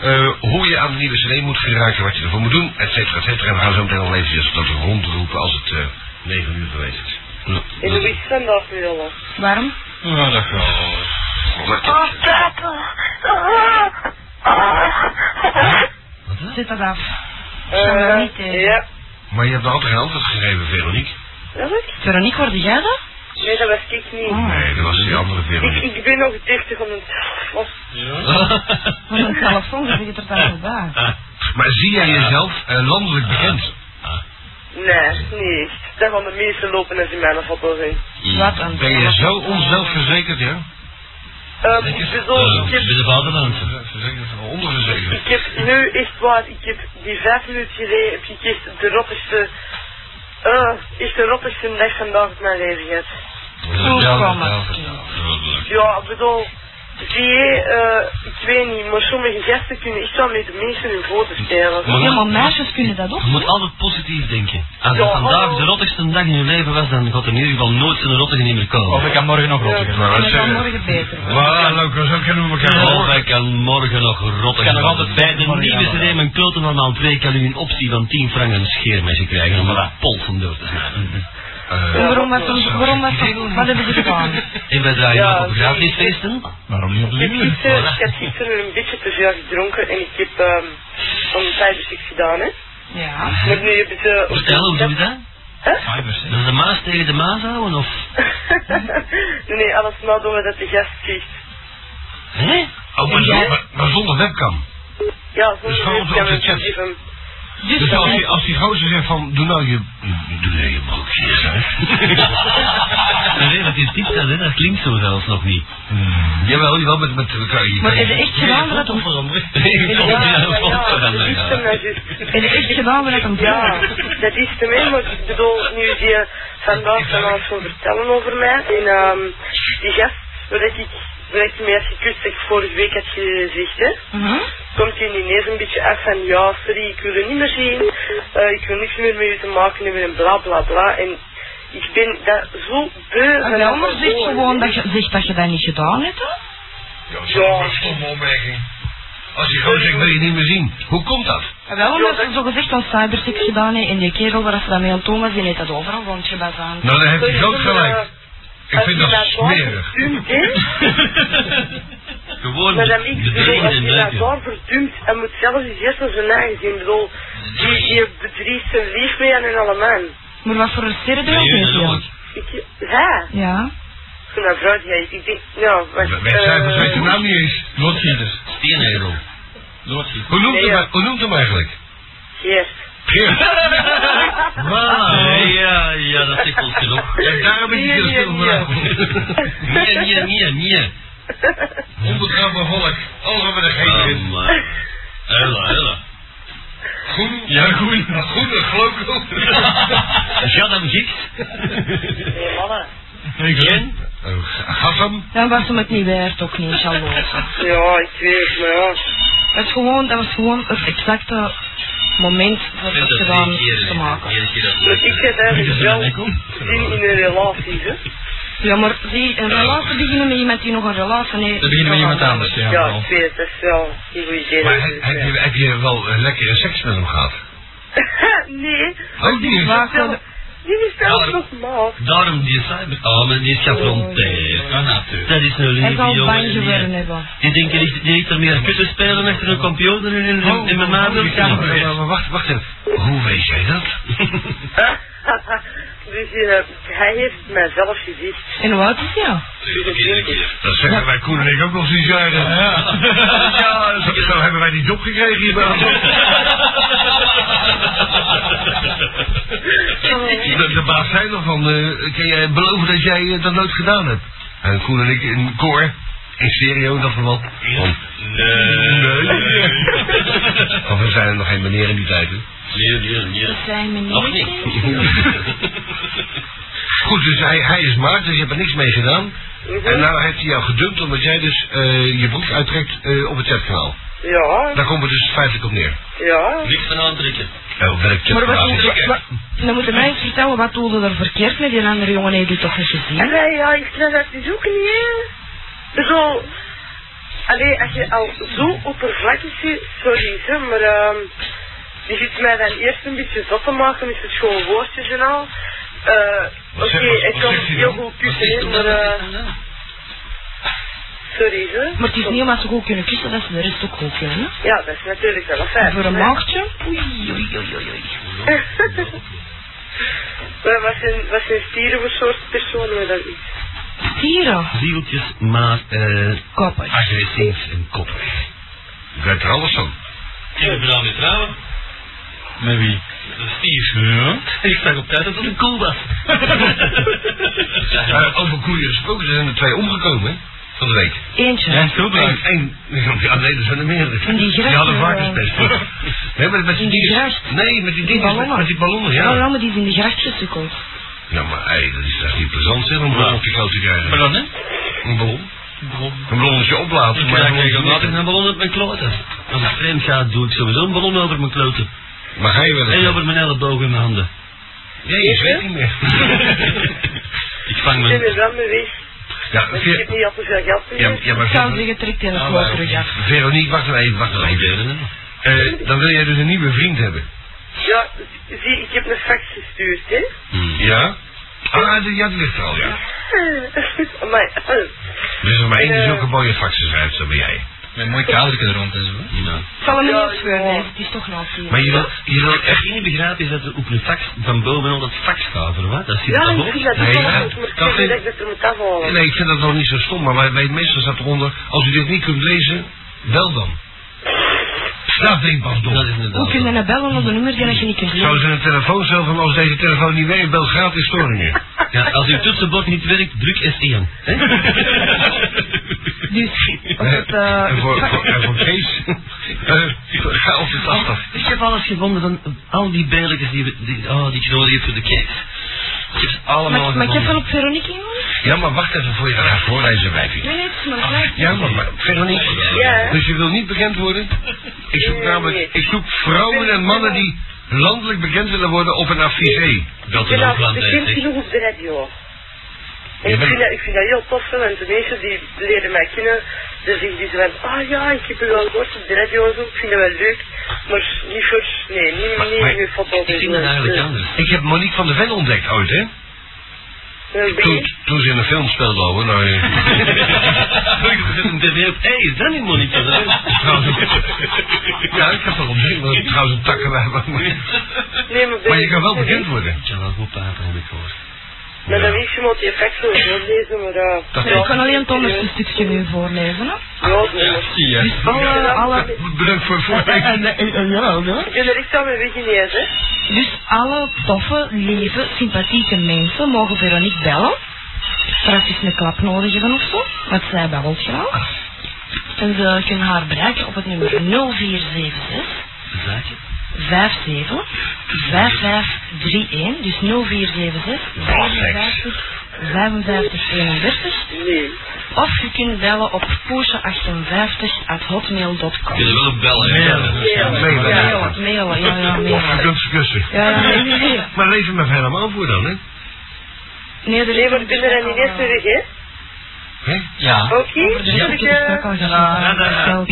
Eh, hoe je aan de nieuwe cd moet geraken, wat je ervoor moet doen, et cetera, et cetera. En we gaan zo meteen al eventjes dat rondroepen als het eh 9 uur geweest is. En hoe is het vandaag met alles? Waarom? Ja, dat gaat. Ah. Zet dat af. Ga maar niet Eh, tegen. ja. Maar je hebt nou altijd geen antwoord gegeven, Veronique. Welk? Veronique, hoorde jij dat? Nee, dat was ik niet. Nee, dat was die andere Veronique. Ik, ik ben nog dichter van het... Was... Voor een telefoon zit het er dan voorbij. Maar zie jij jezelf eh, landelijk bekend? Nee, niet echt. Daar gaan de meesten lopen als in mijn foto zijn. Wat een Ben je zo onzelfverzekerd, ja? Ehm, ik bedoel, ik Ik ben heb, de vaderland. Verzekerd of onderverzekerd? ik heb nu echt waar, ik heb die vijf minuten geleden heb ik echt de rottigste... eh, echt de rottigste dag vandaag uit mijn leven gehad. Ja, ik bedoel, zie je, eh, ik weet niet, maar sommige gasten kunnen echt wel met de mensen hun foto spelen. Maar- Ja, maar meisjes kunnen dat ook. Je moet altijd positief denken. Als het Ja, vandaag maar- de rottigste dag in je leven was, dan gaat er in ieder geval nooit zo'n rottige niet meer komen. Of ik kan morgen nog Maar rotten. En wat dat kan zeggen? morgen beter. worden. Voilà, Loco, zo kunnen we elkaar horen. Of ik kan morgen nog rotten. Kan nog altijd bij de morgen nieuwe gaan. CD mijn kloten van maal 2 kan u een optie van 10 frank en een scheermesje krijgen om dat polsen door te snijden. Eh, En waarom was dat? Waarom was dat? Wat hebben ze gedaan? En wij draaien Ja, nog op nee, gratis ik- feesten. Waarom niet op Ik heb de gisteren, ik heb gisteren een beetje te veel gedronken en ik heb ehm een cybersik dus gedaan, hè. Ja. Maar nu eh, hebben ze... Vertel, hoe doe je dat? fibers, Dat is de maas tegen de maas houden of... nee, nee, alles maar doen we dat de gast ziet. Hè? Oh, maar, zonder, maar- maar zonder webcam. Ja, zo Dus gewoon op de chat. geven. Dus als die, als die gozer zegt van, doe nou je, doe nou je broekje eens uit. Nee, dat is niet dat, hè? dat klinkt zo zelfs nog niet. Mm. Jawel, jawel, met, met, met kan je Maar kan heb je- je echt gedaan dat het om... Ik Ja, vond maar het ja, heel goed gedaan, dat is hè. hem, dat is Heb je echt gedaan dat het om... Ja, dat is te min, maar ik bedoel, nu die vandaag van alles wil vertellen over mij. En ehm die gast, waar ik, waar ik mee had gekust, dat ik vorige week had gezegd, hè. Mhm. komt hij ineens een beetje af van ja, sorry, ik wil u niet meer zien, eh, ik wil niks meer met u te maken hebben en bla bla bla. En ik ben dat zo beu En van wel, dat maar zeg gehoor. gewoon dat je, zeg dat je dat niet gedaan hebt. hè? Ja, dat is Ja. een stomme opmerking. Als je gewoon zegt, wil je niet meer zien. Hoe komt dat? En Wel omdat ze zo gezegd al cybersex gedaan heeft en die kerel waar ze dat mee aan het doen was, die heeft dat overal rondje bij aan. Nou, dan heb je Sorry, groot ik ben, gelijk. eh, Ik vind dat smerig. Dumpt, hè? eh, Gewoon Maar dan ik de bedoel, als dreigende je dat neus. daar verdumt, hij moet zelfs eens eerst naar zijn eigen zien. Ik bedoel, die, die bedriegt zijn lief mee aan hun allemaal. Maar wat voor een sterren doen Nee, ze dat dan? is Ik, hè? Ja. Ik vind dat vrouw, ja, ik denk, nou, wat... Met cijfers weet nou? de eh, naam niet eens. Loodgieters. Steenhegel. Hoe noemt Nee, hem, ja. hij- hoe noemt hem eigenlijk? Geert. Geert. Ah, ja, ja, dat zegt ons genoeg. En daarom is hij heel stil vanavond. Nee, nee, nee, nee. Onbetrouwbaar volk. Allemaal met een Oh, geest in. Amma. Hela, hela. Groen. Ja, groen. Groene glokel. Jadam Giks. Nee, mannen. Ken. Oh, Gassam. Dan was hem het niet waard ook niet, jaloers. Ja, ik weet het, maar ja. Dat, is gewoon, dat was gewoon het exacte moment voor het gedaan te maken. Maar Dus ik zit eigenlijk wel zin in een relatie, hè. Ja, maar zie, een relatie beginnen met iemand die nog een relatie heeft. Dan beginnen we iemand anders, ja. Ja, wel. ik weet het, dat is wel een goede idee. Maar he- heb je, heb je wel eh, lekkere seks met hem gehad? Oh, Nee, Ook niet. stel- dit is zelfs Ja. normaal. Daarom die cyber... Oh, maar die is gefronteerd. Ja, natuurlijk. Dat is een Hij lieve zal jongen. bang die- eh, geworden hebben. Die denken die die ligt er meer kussen spelen achter een computer en Oh, in, in, in mijn maat. maar wacht, wacht even. Hoe weet jij dat? dus eh, hij heeft mij zelf gezien. En wat is ja? Dat zeggen wij Koen en ik ook nog zo'n jaren. Ja, ja zo, zo hebben wij die job gekregen hier bij ons. De, de baas zei nog van, eh, kan jij beloven dat jij eh, dat nooit gedaan hebt? En Koen en ik in koor, in stereo, dat we wat. Van, nee. Want we zijn er nog geen meneer in die tijd. hè. Nee, nee, nee. Dat zijn Nog meneer. niet. Goed, dus hij, hij is maart, dus je hebt er niks mee gedaan. En Mhm. nou heeft hij jou gedumpt omdat jij dus eh, je broek uittrekt eh, op het chatkanaal. Ja, Daar komt het dus feitelijk op neer. ja. Niks van aantrekken. Ja, op welk Maar wat, chatkanaal doen- zit wa- wa- dan moeten mij eens vertellen, wat doelde er verkeerd met die andere jongen? Hij doet toch niet En gezien? wij, ja, ik snap dat dus ook niet, hè. Zo, allee, als je al zo oppervlakkig zit, sorry, hè, maar ehm je zit mij dan eerst een beetje zot te maken met het schoon woordjes en al. Eh, Wat Oké, zeg- wat- ik wat kan zegt hij heel dan? goed kussen, hè, maar eh, sorry, hè. Maar het is niet omdat ze goed kunnen kussen, dat ze de rest ook goed kunnen. hè? Ja, dat is natuurlijk wel een feit. Voor een hè. maagdje? Maar wat zijn, wat zijn stieren voor soort personen we dat niet? Dieren. Zieltjes, maar eh Koppers. agressief en koppig. Ik weet er alles van. Ik ben vooral met trouwen. Met wie? Stief. Ja. Ik zag op tijd dat het een koe was. Eh, over koeien gesproken, er zijn er twee omgekomen hè, van de week. Eentje. Ja, goed Eén, één, ja nee, er zijn er meerdere. En die Die grachten, hadden eh, varkenspest. Nee, met, met die die dingen- gracht. Nee, met die dingen, met, ballonnen. met die ballonnen, Ja, ja. ja, maar die is in de gracht gesukkeld. Nou, maar hey, dat is echt niet plezant zeg, om een ballon op je koud te krijgen. Pardon, hè? Een ballon? Een ballonnetje Ik oplaten, maar krijg een ballonnetje regelmatig niet. een ballon op mijn kloten. Als ik vreemd ga, doe ik sowieso een ballon over mijn kloten. Maar ga je wel En eens? over mijn elleboog en mijn handen. Nee, ik weet niet meer. Ik vang Ik ben er mijn... wel mee weg, Ja, want ik heb Ver- niet al te veel geld meer. ja, ja, maar Ik zou Ver- zeggen, trek die Ja, een maar- kloot terug af. Veronique, wacht nou even, wacht nou even. Eh, dan wil jij dus een nieuwe vriend hebben. Ja, zie, ik heb een fax gestuurd, hè. Hmm. Ja? Ah, die, ja, die ligt er al, ja. maar, Er is er maar één die Eh. zulke mooie faxen schrijft, dat ben jij. Met mooie kouderken er rond en zo. Ik zal hem niet Ja, opscheuren, ja. hè. het is toch nou vier. Maar je wil... Je wil echt niet begrijpen is dat er op een fax van boven al dat fax gaat, voor wat? Dat zit ja, daar ik vind dat Nee, ook wel ja, goed, maar ik dat vind vind- dat ik dat er moet afhalen. Nee, ik vind dat nog niet zo stom, maar bij, bij het meestal staat eronder... Als u dit niet kunt lezen, bel dan. Dat denk ik pas Dat dom. is inderdaad... Hoe kun je nou bellen op een nummer die dat je niet kunt Zo is lezen? er een telefooncel van als deze telefoon niet werkt, bel gratis storingen. Ja, als uw toetsenbord niet werkt, druk S1. hè? Dus, op het, eh, en voor, voor, en voor Kees, eh, ga op de 80. Ik heb alles gevonden van al die bijlijkers die, we- die, oh, die ik nodig heb voor de kerk. Ik heb ze allemaal maar, maar ik heb wel gevonden. op Veronique jongen. Ja, maar wacht even voor je dat gaat voorlezen, wijfje. Nee, nee, het is maar gelijk. Ja, maar, maar Veronique. Ja. Dus je wil niet bekend worden? Ik zoek Nee, nee. namelijk, ik zoek vrouwen en mannen die landelijk bekend willen worden op een affiché. Dat Ik er ben nog al wat bij bekend zegt. genoeg op de radio. En ik, vind dat, ik vind dat heel tof, hè, want de mensen die leren mij kennen, die zeggen die zo van, ah ja, ik heb u wel gehoord op de radio en zo, ik vind dat wel leuk, maar niet voor, nee, niet, Maar- niet maar in uw foto. Dus, Ik vind dat eigenlijk anders. Ik heb Monique van de Ven ontdekt ooit, hè? eh, Toen, toen ze in een film speelde, hoor. Nou, eh, Ik zet hem tv op. Hé, is dat niet monitor? trouwens ook- ja, ik heb dat ontdekt. maar Dat is trouwens een takken waar- waar- Maar, Nee, maar, je kan wel bekend worden. Ja, wat goed praten heb ik gehoord. Met een wiefje moet je effect zo lezen, maar eh, Dat Nee, ik kan alleen het onderste stukje nu voorlezen. Hè? ja, nee, maar- zie je. Alle, alle, Bedankt voor het en, voorbeeld. en, en- en- ja, ja. Ik ben er echt aan mijn weg ineens, hè. Dus alle toffe, lieve, sympathieke mensen mogen Veronique bellen. Straks is een klap nodig hebben of zo, want zij belt graag. En ze kunnen haar bereiken op het nummer 0476 Zaakje? 57 5531. Dus 0476 55 55 31. Nee. Of je kunt bellen op poesje58 at Je hotmail.com. wil hem bellen, hè? Mailen. Mailen, mailen, ja, ja, Of je mailen. kunt ze kussen. Ja, ja, nee, nee, nee. Maar lever me helemaal voor dan, hè? Nee, de Nee, maar ik ben er aan ineens mee weg, hè. Ja. Oké, Over de zal rest ik, is het ook eh, al gedaan. Vertel.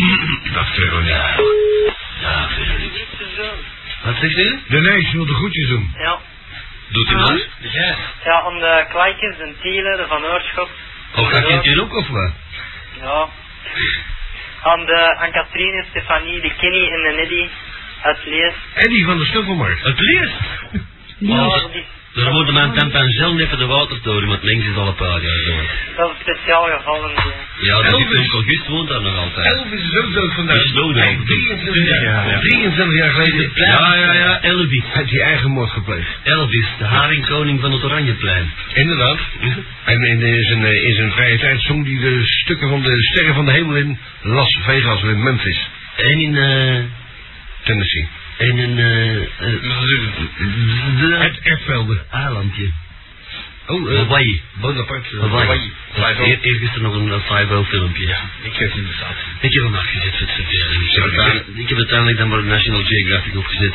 Dat Veronique. Ja, Veronique. Wat zegt u? De neus, je wilt de groetjes doen. Ja. Doet u maar. Ja. Ja, om de Kleikens, de Tielen, de Van Oorschot. Oh, ga ik in het ook of wat? Ja. Aan de aan Katrien en Stefanie, de Kenny en de Neddy uit Lees. Eddie van de Stoffelmarkt. Het leert. Oh, die, Daar worden mijn tempenzel net de water door, want links is al een paar jaar dood. dat is een speciaal geval. en die- Ja, dat is Elvis. in august woont daar nog altijd. Elvis is ook dood vandaag. Hij is dood, hè? Nee, 23 Ja, ja. jaar. 23 jaar geleden. Ja, ja, ja, Elvis. Hij heeft die eigen moord gepleegd. Elvis, de haringkoning van het Oranjeplein. Inderdaad. En in, eh, zijn, eh, in zijn vrije tijd zong hij de stukken van de Sterren van de Hemel in Las Vegas, in Memphis, En in, eh... Tennessee. En in, Het eh... Het Erfvelden. eilandje. Oh, eh, Hawaii. Bonaparte. Hawaii. Hawaii. Eer- Eerst is er nog een eh, 5 filmpje. Ik heb inderdaad. Ik heb hem afgezet voor het vervelen. Ik heb Ja, het ik- uiteindelijk- Ik heb uiteindelijk dan maar National Geographic opgezet.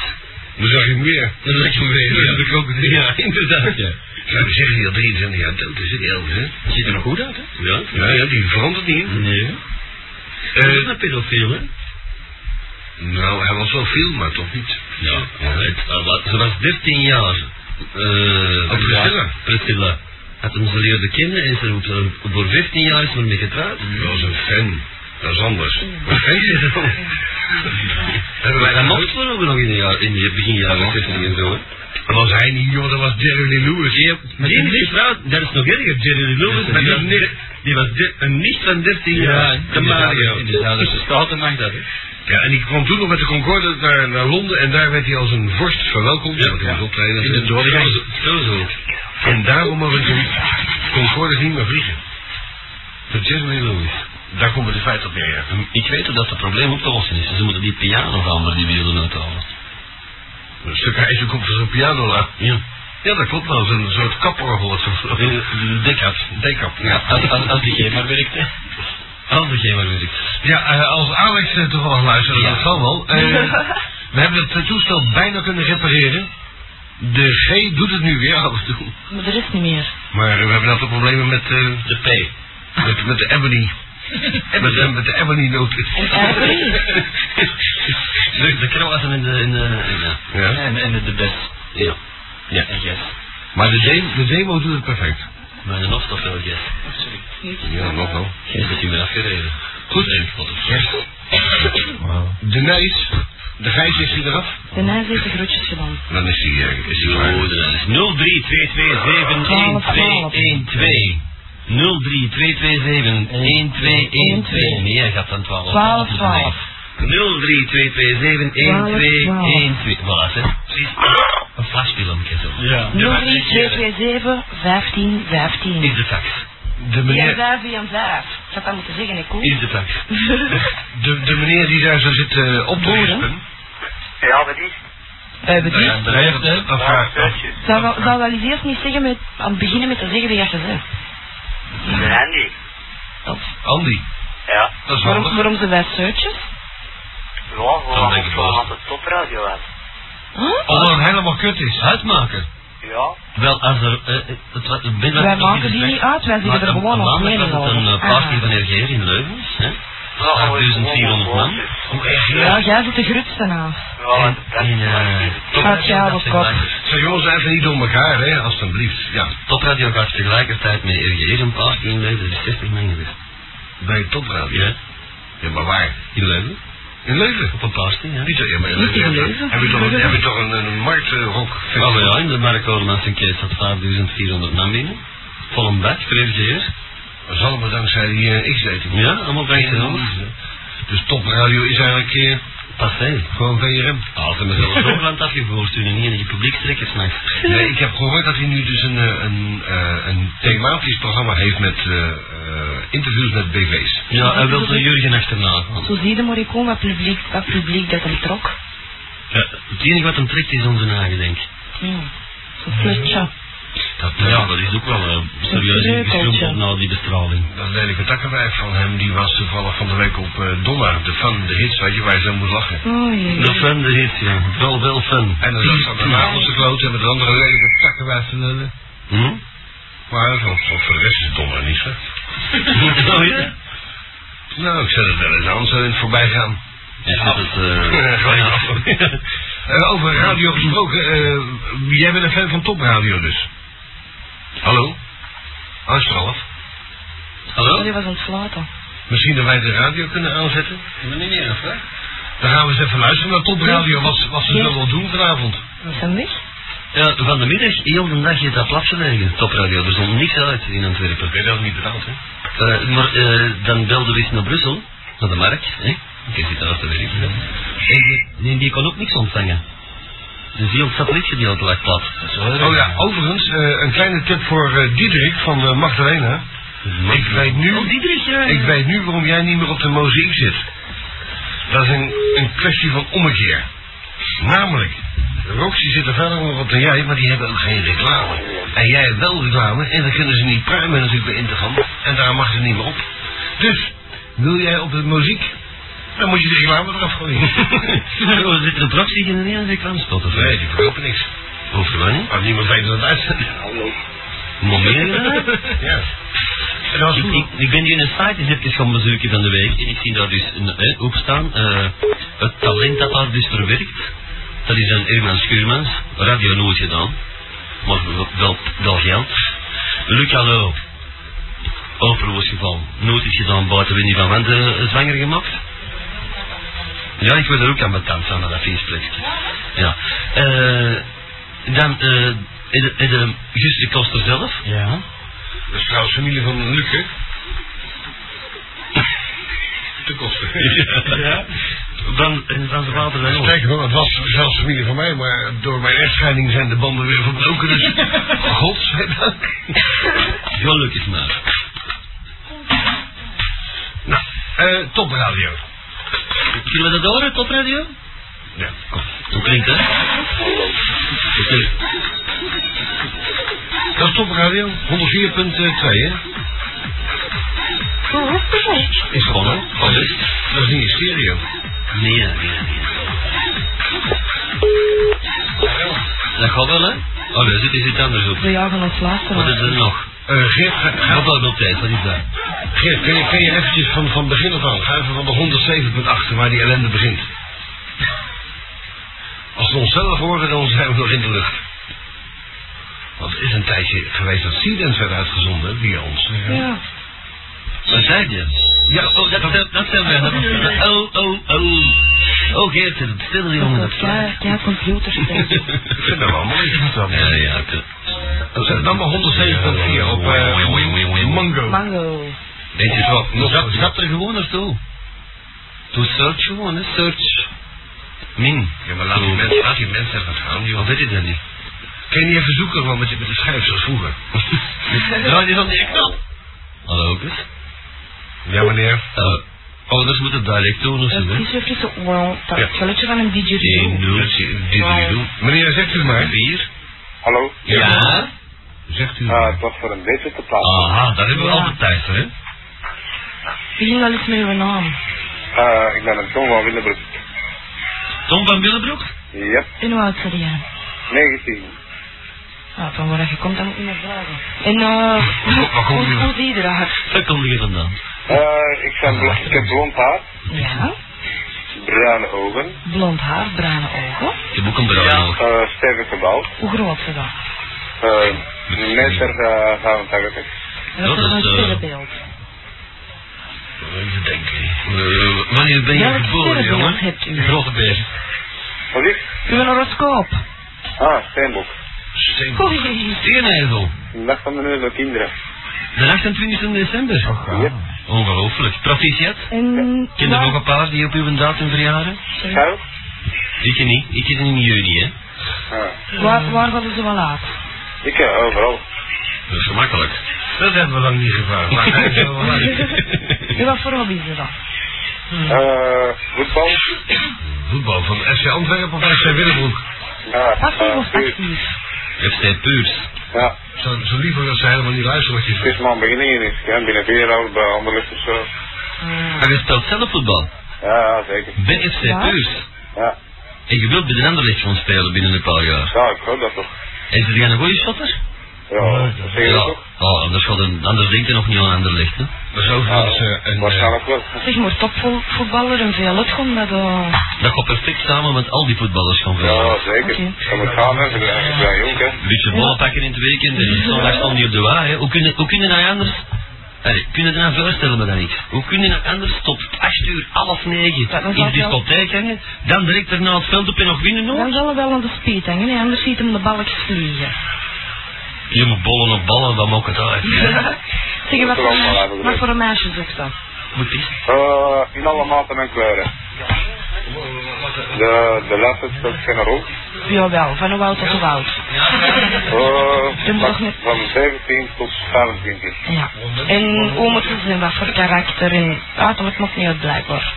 Dan zag je hem weer. Dat is lekker weer. Ja, de krokodil. Ja, inderdaad, ja. Zou je zeggen dat hij 23 jaar dood is, hè, Elvis, hè? Ziet er nog goed uit, hè? Ja. Ja, ja, die verandert niet, hè? Nee. Dat is Eh, een pedofiel, hè? nou, hij was wel veel, maar toch niet. Ja, het, eh, wat- ze was 13 jaar. eh Oh, Priscilla. ja, Priscilla. Had hem ze leren kennen en ze roept, eh, voor 15 jaar is ze ermee getrouwd. Dat was een fan. Dat is anders. Een fan is het anders. Hebben wij Maar dat dan mocht nog? wel ook nog in de, jaar, in de begin jaren 60 en zo. Hè. Was hij niet, joh, dat was Jerry Lee Lewis. Die, heeft- die is getrouwd, dat is nog erger, Jerry Lee Lewis, Ja, maar die ja. was, niet- die was de- een nicht van 13 jaar, de Mario. dus. de staten mag dat, hè. Ja, en die kwam toen nog met de Concorde naar, naar Londen en daar werd hij als een vorst verwelkomd. want hij was optreden. In de dorp. Zo, zo. En daarom mogen de Concordes niet meer vliegen. De Jerry Lewis. Daar komen de feiten op neer, ja. Ik weet dat dat probleem op te lossen is. Ze moeten die piano gaan, maar die willen uithalen. Een stuk ijzer komt van zo'n piano laag. Ja. Ja, dat klopt wel. Zo'n soort kaporgel. of zo. De dekap. Dekap, ja. Als, als, als die geen maar werkt, hè. Als er geen maar muziek. Ja, eh, als Alex eh, toevallig luistert, dat zal wel. Eh, we hebben het eh, toestel bijna kunnen repareren. De G doet het nu weer af en toe. Maar er is niet meer. Maar eh, we hebben altijd problemen met, eh, De P. met, met de Ebony. met, de- met de Ebony noten. De, de krawatten en de... En de Ja. ja. En, en de best. ja. Ja. En yes. Maar de, de, de demo doet het perfect. Maar een of toch wel yes. Ja, nog wel. Yes, dat is weer afgereden. Goed. Nee, wat een- De neus. De gijs is hij eraf. Daarna heeft de groetjes gedaan. Dan is hij eh, is hij Oh, klaar. dat is 0322711212. 0322711212. Nee, hij gaat dan 12. 12, 12. 0322711212. Voilà, zeg. Precies. Een flashfilmpje zo. Ja. 03227 15 15. Is de fax. De Ja, meneer, 5 en 5. Ik had dat moeten zeggen, ik hoor. Is de fax. de, de meneer die daar zo zit eh, op te rispen. Ja, wat is? Bij die. Ja, dreigt, hè? Of, eh, of- Eh, Zou wel, zou wel eens eerst niet zeggen met, aan het beginnen met te zeggen wie dat je bent. Randy. Andy. Ja. Dat is handig. Waarom, waarom ze wij searches? Ja, gewoon denk ik wel. de topradio uit. Huh? Omdat het helemaal kut is. Uitmaken. Ja. Wel, als er... eh, eh, het, wa- het, ben- wat Wij ik nog maken die gezegd- niet uit, wij zitten Maar er een- gewoon een op maandag mee. was het een eh, Ah. party van RGR in Leuven, hè? 8400 man. Ja, jij zit de grootste nou. En, eh, Gaat jou op kop. Zeg jongens, even niet door elkaar, hè, alstublieft. Ja, Topradio gaat tegelijkertijd met RGR een party in Leuven, dat is 60 man geweest. bij Topradio. Ja, Ja, maar waar? in Leuven. In Leuven. Op een party, ja. Niet zo, ja, maar in Niet in Leuven. Leuven. Heb je toch een, heb je toch een, een marktrok? Oh ja, in de Mark Olemans en Kees zat 5400 man binnen. Vol een bak voor RGR. Dat is allemaal dankzij die eh X-dating. Ja, allemaal bij jezelf. Dus topradio is eigenlijk eh, Passé. gewoon VRM. Altijd mezelf zo'n land afgevoerd toen en niet in je publiek trekken s'nachts. Nee, ik heb gehoord dat hij nu dus een, eh, een, eh, een thematisch programma heeft met eh, eh, interviews met BV's. Ja, hij wil de Jurgen achterna gaan. Zo zie je Morricone wat publiek, wat publiek dat hem trok. Ja, het enige wat hem trekt is onze nagen, denk ik. Hmm. Zo'n flutje. Dat, eh, Ja, dat is ook wel eh, serieus ingeschompeld na die bestraling. Dat lelijke takkenwijf van hem, die was toevallig van de week op eh, Donna, de fan, de hits, weet je, waar je zo moet lachen. Oh jee. De fun, de hit, ja. Wel, wel fun. En dan zat ze aan de nagels te kloten met een andere lelijke takkenwijf te lullen. Hm? Maar voor, voor voor de rest is Donna niet slecht. Oh ja? Nou, ik zet het wel eens aan, zo in het voorbijgaan. Dus dat het... eh, Gewoon af. Eh, over radio gesproken, eh, jij bent een fan van topradio dus. Hallo? Hallo? Oh, Hallo? die was ontsluiten. Misschien dat wij de radio kunnen aanzetten? Meneer, of hè? Dan gaan we eens even luisteren naar topradio, wat, ze- wat ze zullen wel doen vanavond. Is dat niet? Ja, van de middag, heel de dag, je dat platgelegen, topradio. Er stond niks uit in Antwerpen. Ben je dat niet betaald, hè? Eh, maar eh, dan belde we eens naar Brussel, naar de markt. Hè? Ik zit daar als te werken. hè. En die, die, die kon ook niks ontvangen. Dus heel het satellietgedeelte lag plat. Dat is wel erg. Oh ja, overigens, eh, een kleine tip voor eh, Diederik van eh, Magdalena. Ik weet nu... Oh, Diederik, ja, ja. Ik weet nu waarom jij niet meer op de mozaïek zit. Dat is een, een kwestie van ommekeer. Namelijk, Roxy zit er verder nog op dan jij, maar die hebben ook geen reclame. En jij hebt wel reclame en dan kunnen ze niet pruimen natuurlijk bij Intergram. En daar mag ze niet meer op. Dus, wil jij op de muziek, dan moet je de reclame eraf gooien. Oh, zit er praktisch in een hele reclamespot of nee, die verkopen niks. Hoeft er wel niet. Als niemand weet dat het uitzendt. Maar meer eh? dan dat? Ja. En dat was Ik, goed. ik, ik ben die in een site eens even gaan bezoeken van de week en ik zie daar dus een, eh, op staan, eh, het talent dat daar dus verwerkt. Dat is een Herman Schuurmans, radio nooit gedaan, maar wel- wel, wel geld. Luc Hallo, overwoord geval, nooit is gedaan buiten Winnie van Wende eh, zwanger gemaakt. Ja, ik word er ook aan bekend van, aan dat feestplekje. Ja. Eh, dan, eh, de, de, Guus de Koster zelf. Ja. Dat is trouwens familie van Luc, hè? Te kosten. Ja. Dan, en dan zijn vader dan ook. Sterker nog, het was zelfs familie van mij, maar door mijn echtscheiding zijn de banden weer verbroken, dus godzijdank. Gelukkig maar. Nou, eh, topradio. Zullen we dat horen, topradio? Ja, kom. Hoe klinkt dat? Oké. Dat is topradio, 104.2, hè? Is gewoon hoor. Wat is? Oh, dus? Dat is niet in stereo. Nee, nee, nee. Dat gaat wel, hè? Oh, daar zit is iets anders op. We jagen ons Wat is luisteraar. er nog? Eh Geert, ga- ga- Gaat dat wel tijd, wat is dat? Geert, kun je, kun je eventjes van, van begin af aan, ga even van de 107.8 waar die ellende begint. Als we onszelf horen, dan zijn we nog in de lucht. Want het is een tijdje geweest dat Seedance werd uitgezonden via ons. eh, Ja. Wat zei je? Ja, Oh, dat, dat, dat zijn wij. Dat- Oh, oh, oh. Oh, Geert, het is stil, jongen. Dat Dat is slaat. klaar. Ja, computers. hè. ik vind dat wel mooi. ik vind dat wel Ja, mooi. ja, oké. Zet dan maar 107.4 op eh, Mango. Mango. Weet je wat? Nog Zat, goed. zat er gewoon naartoe. Doe search gewoon, hè. Search. Min. Ja, maar laat die mensen, laat die mensen even gaan, joh. Wat weet je dat niet? Kun je niet even zoeken gewoon met, die- met de schijf zoals vroeger? Draai die van die knop. Hallo, ook eens. Ja, meneer. Eh, oh, dat moet het direct doen of zo, Het hè. is even zo. Wow. oh, Dat is het geluidje van een Eén, didgeridoo. nul, Dat zie- dit wil je doen. Meneer, zegt u het maar. vier. Hallo, Ja. Zegt u het Ah, maar. het was voor een beetje te plaatsen. Aha, daar hebben we Ja. altijd tijd voor, hè. Begin wel eens met uw naam. Eh, ik ben een John van Willebroek. Tom van Willebroek? Yep, En hoe oud zijn jij? 19. Ja, Ah, van waar je komt, dan moet je me vragen. En eh, Waar kom je hoe, vandaan? hoe zie je eruit? Waar kom je vandaan? Eh, ik, ben bl- ik heb blond haar, Ja, bruine ogen, blond haar, bruine ogen. Je boek een bruin oog. eh sterke gebouw, Hoe groot is dat? eh, meter eh, 85. Dat Dat is is, een eh, sterrenbeeld. Ik denk, eh, wanneer ben je Welk geboren, sterrenbeeld jongen? hebt u? Grote beer. Wat is? Uw horoscoop. Ah, steenboek. Oei. Steenijzel. Dag van de neus door kinderen. De 28 december. Oh, Yep. Ongelooflijk. Proficiat. En Ken je nog een paar die op uw datum verjaren? Charles? Ik niet. Ik zit in juni, hè. Ah. waar, waar gaan ze wel uit? Ik eh, overal. Dat is gemakkelijk. Dat hebben we lang niet gevraagd. Maar hij is wel lang. En wat voor hobby is dat? Eh, voetbal. Voetbal van FC Antwerpen of FC Willebroek. Ja, Passief eh, of puur. actief? FC Puurs. Ja, Zo, zo liever dat ze helemaal niet luisteren wat je het zegt. is maar een beginning. dus, Ja, binnen vier jaar bij Anderlecht of zo. Ah, Maar je speelt zelf voetbal. Ja, ja, zeker. Bij FC Ja. Puurs. Ja, En je wilt bij de Anderlecht gaan spelen binnen een paar jaar. ja ik hoop dat toch. En ze gaan een goede shotter? Ja, dat zeg je toch? Oh, anders, gaat een, anders denkt hij nog niet aan Anderlecht, hè. Dat is overigens eh, een... eh, Waarschijnlijk wel. Zeg maar topvoetballer en veel het gewoon met... eh, Dat gaat perfect samen met al die voetballers gaan Ja, verhalen. zeker. Oké. Dat moet gaan, hè. Ik ben- ik ben jong, hè. Een beetje ballen pakken in het weekend en zondag stond hij op de waai. hè. Hoe kun je, hoe kun je nou anders... Allee, kun je het nou voorstellen, maar dan niet. Hoe kun je nou anders tot 8 uur, half 9 Dat is in de wel veel. discotheek hangen, dan direct daarna het veld op en nog winnen nog? Dan zal hij wel aan de speed hangen, hè, anders ziet hem de balkjes vliegen. Je moet bollen op ballen, dan maakt het uit. Zeg, wat voor, Dat is wel meisje, waar, wat voor een meisje zegt dat? Moet is. Eh, in alle maten en kleuren. De, de laatste speelt geen rol. Jawel, van hoe oud tot hoe oud. Eh, Je moet toch van, niet- van 17 tot 25. Ja. En hoe moet ze zijn, wat voor karakter en uiterlijk maakt niet uit blijkbaar.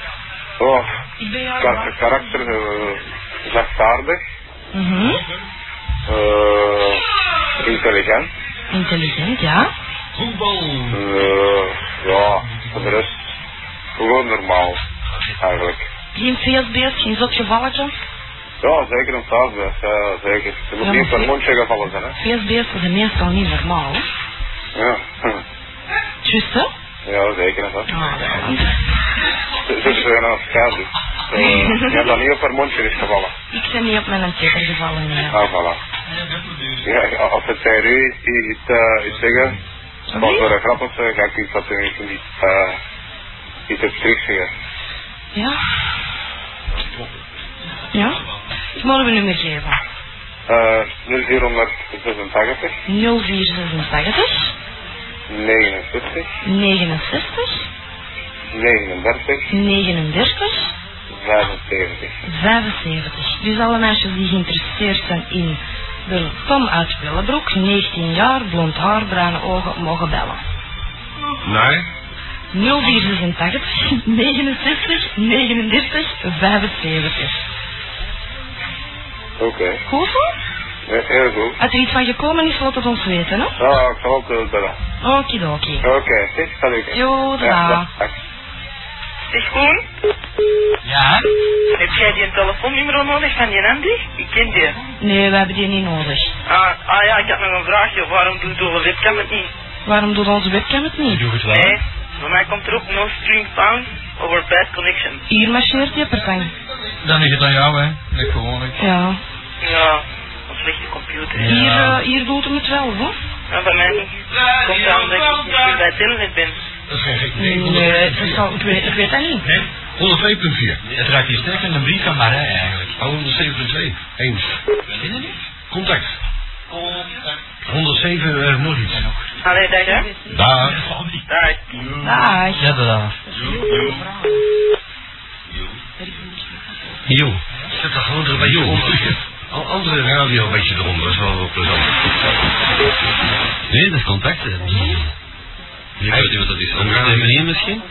Oh, Ik ben kar karakter, eh, zachtaardig, Mhm. eh, intelligent. Intelligent, ja. Eh, ja, voor de rest gewoon normaal eigenlijk. Geen feestbeest, geen zotje valletje. Ja, zeker een thuisbeest, ja, zeker. Je moet Ja, niet op maar- een mondje gevallen zijn, hè. Feestbeesten zijn meestal niet normaal. hè. Ja, hm. Juist, hè? ja zeker en vast. Ah, ja. Ze ze zijn aan het schaduw. Eh, Je hebt dat niet op haar mondje is gevallen. Ik ben niet op mijn tekker gevallen, ja. Ah, voilà. Ja, ja, als het tegen u is, is het, eh, iets zeggen, Sorry? wat voor een grap of zo, ga ik iets dat u niet, eh, niet op terug zeggen. Ja. Ja. Ik moet hem een nummer geven. Eh, 0486, 0486 69, 69 39, 39 75. 75. Dus alle meisjes die geïnteresseerd zijn in de Tom uit Willebroek, 19 jaar, blond haar, bruine ogen, mogen bellen. Nee. 0486 69 39 75. Oké, Goed zo? Eh, heel goed. Als er iets van gekomen is, laat het ons weten, hè? Ja, ik zal ook wel bellen. Okidoki. Oké, dit gaat lukken. Jo, da. Ja, dag, dag. Zeg Koen, Ja? heb jij die telefoonnummer nodig van die Andy? Ik ken die. Nee, we hebben die niet nodig. Ah, ah ja, ik had nog een vraagje. Waarom doet de webcam het niet? Waarom doet onze webcam het niet? Doe het wel. Nee, bij mij komt er ook no string found over bad connection. Hier marcheert je per tang. Dan is het aan jou, hè. Dat gewoon ik. Ja. Ja, een slechte computer. hè. Hier, eh, hier doet hem het wel, hoor. Maar bij mij niet. Komt aan omdat ik niet meer bij Telenet ben. Dat is geen gek. Nee, dat zal- ik, weet, ik weet dat niet. Nee, 102.4. Het raakt hier sterk in de brief van Marij, eigenlijk. Oh, 107.2. Eens. Contact. 107, eh, nog iets. Allee, dag hè. Daar. Dag. Dag. Ja, dat dan. Jo. Zet dat gewoon er bij je onder. Al andere radio een beetje eronder, dat is wel wel plezant. Nee, dat is contact. hè. Je weet niet wat dat is. Anders de meneer misschien?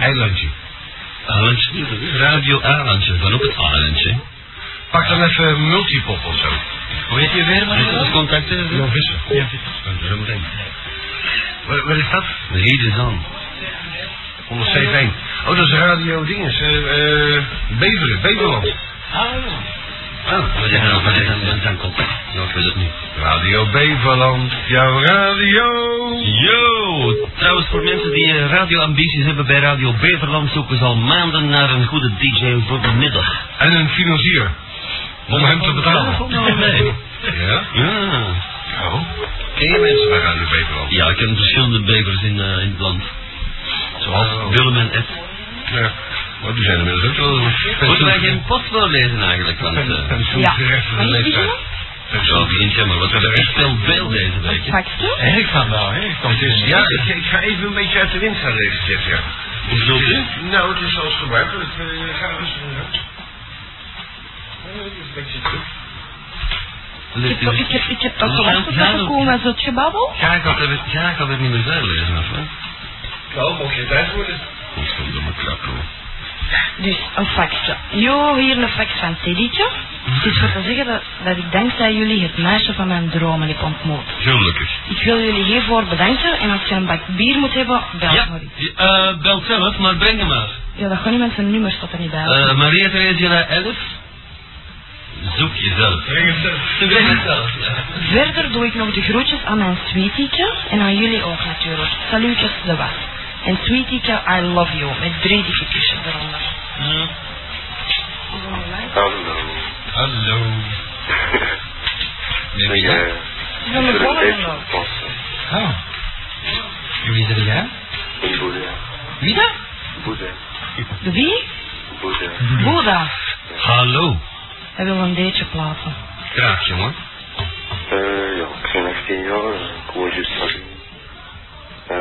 Eilandje. Alandje. Radio Alandje, van op het Alandje. Pak dan even multipop of zo. Hoe heet je weer, Weet je dat man? is contact is? Ja, vissen. Ja, Zometeen. Wat, wat is dat? Hier is aan. 107.1. Oh, dat is radio dinges. eh, eh, Beveren, Beverland. Oh, Ah, wat is dat? Wat is dat? Wat is dat contact? Ja, ik weet het niet. nou Radio Beverland, jouw radio. Yo! Trouwens, voor mensen die eh, radioambities hebben bij Radio Beverland, zoeken ze al maanden naar een goede DJ voor de middag. En een financier. Om hem te betalen. Nee. Ja? Ja. Oh. Ken je mensen bij Radio Beverland? ja, ik ken verschillende bevers in, eh, in het land. Zoals Oh. Willem en Ed. Ja. Oh, Maar die zijn inmiddels ook wel... Moeten wij geen post voorlezen eigenlijk? Want, eh, Ja. van de leeftijd. ja, begint jammer, want we hebben echt veel beeld deze week. hè. Pakje? En ik ga wel, hè? Ik kan Het is, ja, ik, ik ga even een beetje uit de wind gaan deze keer, ja. Hoe bedoelt u? Nou, het is zoals gebruikelijk. Eh, ga rustig doen, hè. Eh, het is een beetje druk. Ik heb, ik heb, ik heb toch wel achter dat gekomen als het gebabbel. Ja, ik had het, ja, ik had het niet meer verder lezen, of hè? Nou, mocht je tijd worden. Dat is een domme klap, hoor. Dus een faxje. Jo, hier een fax van Teddytje. Het is voor te zeggen dat, dat ik dankzij jullie het meisje van mijn dromen heb ontmoet. Gelukkig. Ik wil jullie hiervoor bedanken en als je een bak bier moet hebben, bel Ja, maar. eh, bel zelf, maar breng hem maar. Ja, dat gaat niet met zijn nummer, staat er niet bij. Eh, Maria Theresia 11. Zoek jezelf. Breng het zelf. Breng het zelf, ja. Verder doe ik nog de groetjes Dus aan mijn sweetietje en aan jullie ook natuurlijk. Salutjes de was. En sweetietje, I love you, met drie dikke eronder. Ja. Hallo. Hallo. Ik eh, Is dat een ben er een volgende nog? beetje passen. Oh. En wie zeg jij? In Boeddha. Wie dat? Boeddha. De wie? Boeddha. Boeddha. Hallo. Hij wil een deetje plaatsen. Graag, jongen. Eh, ja, ik ben 18 jaar. eh, Ik woon juist van. Eh,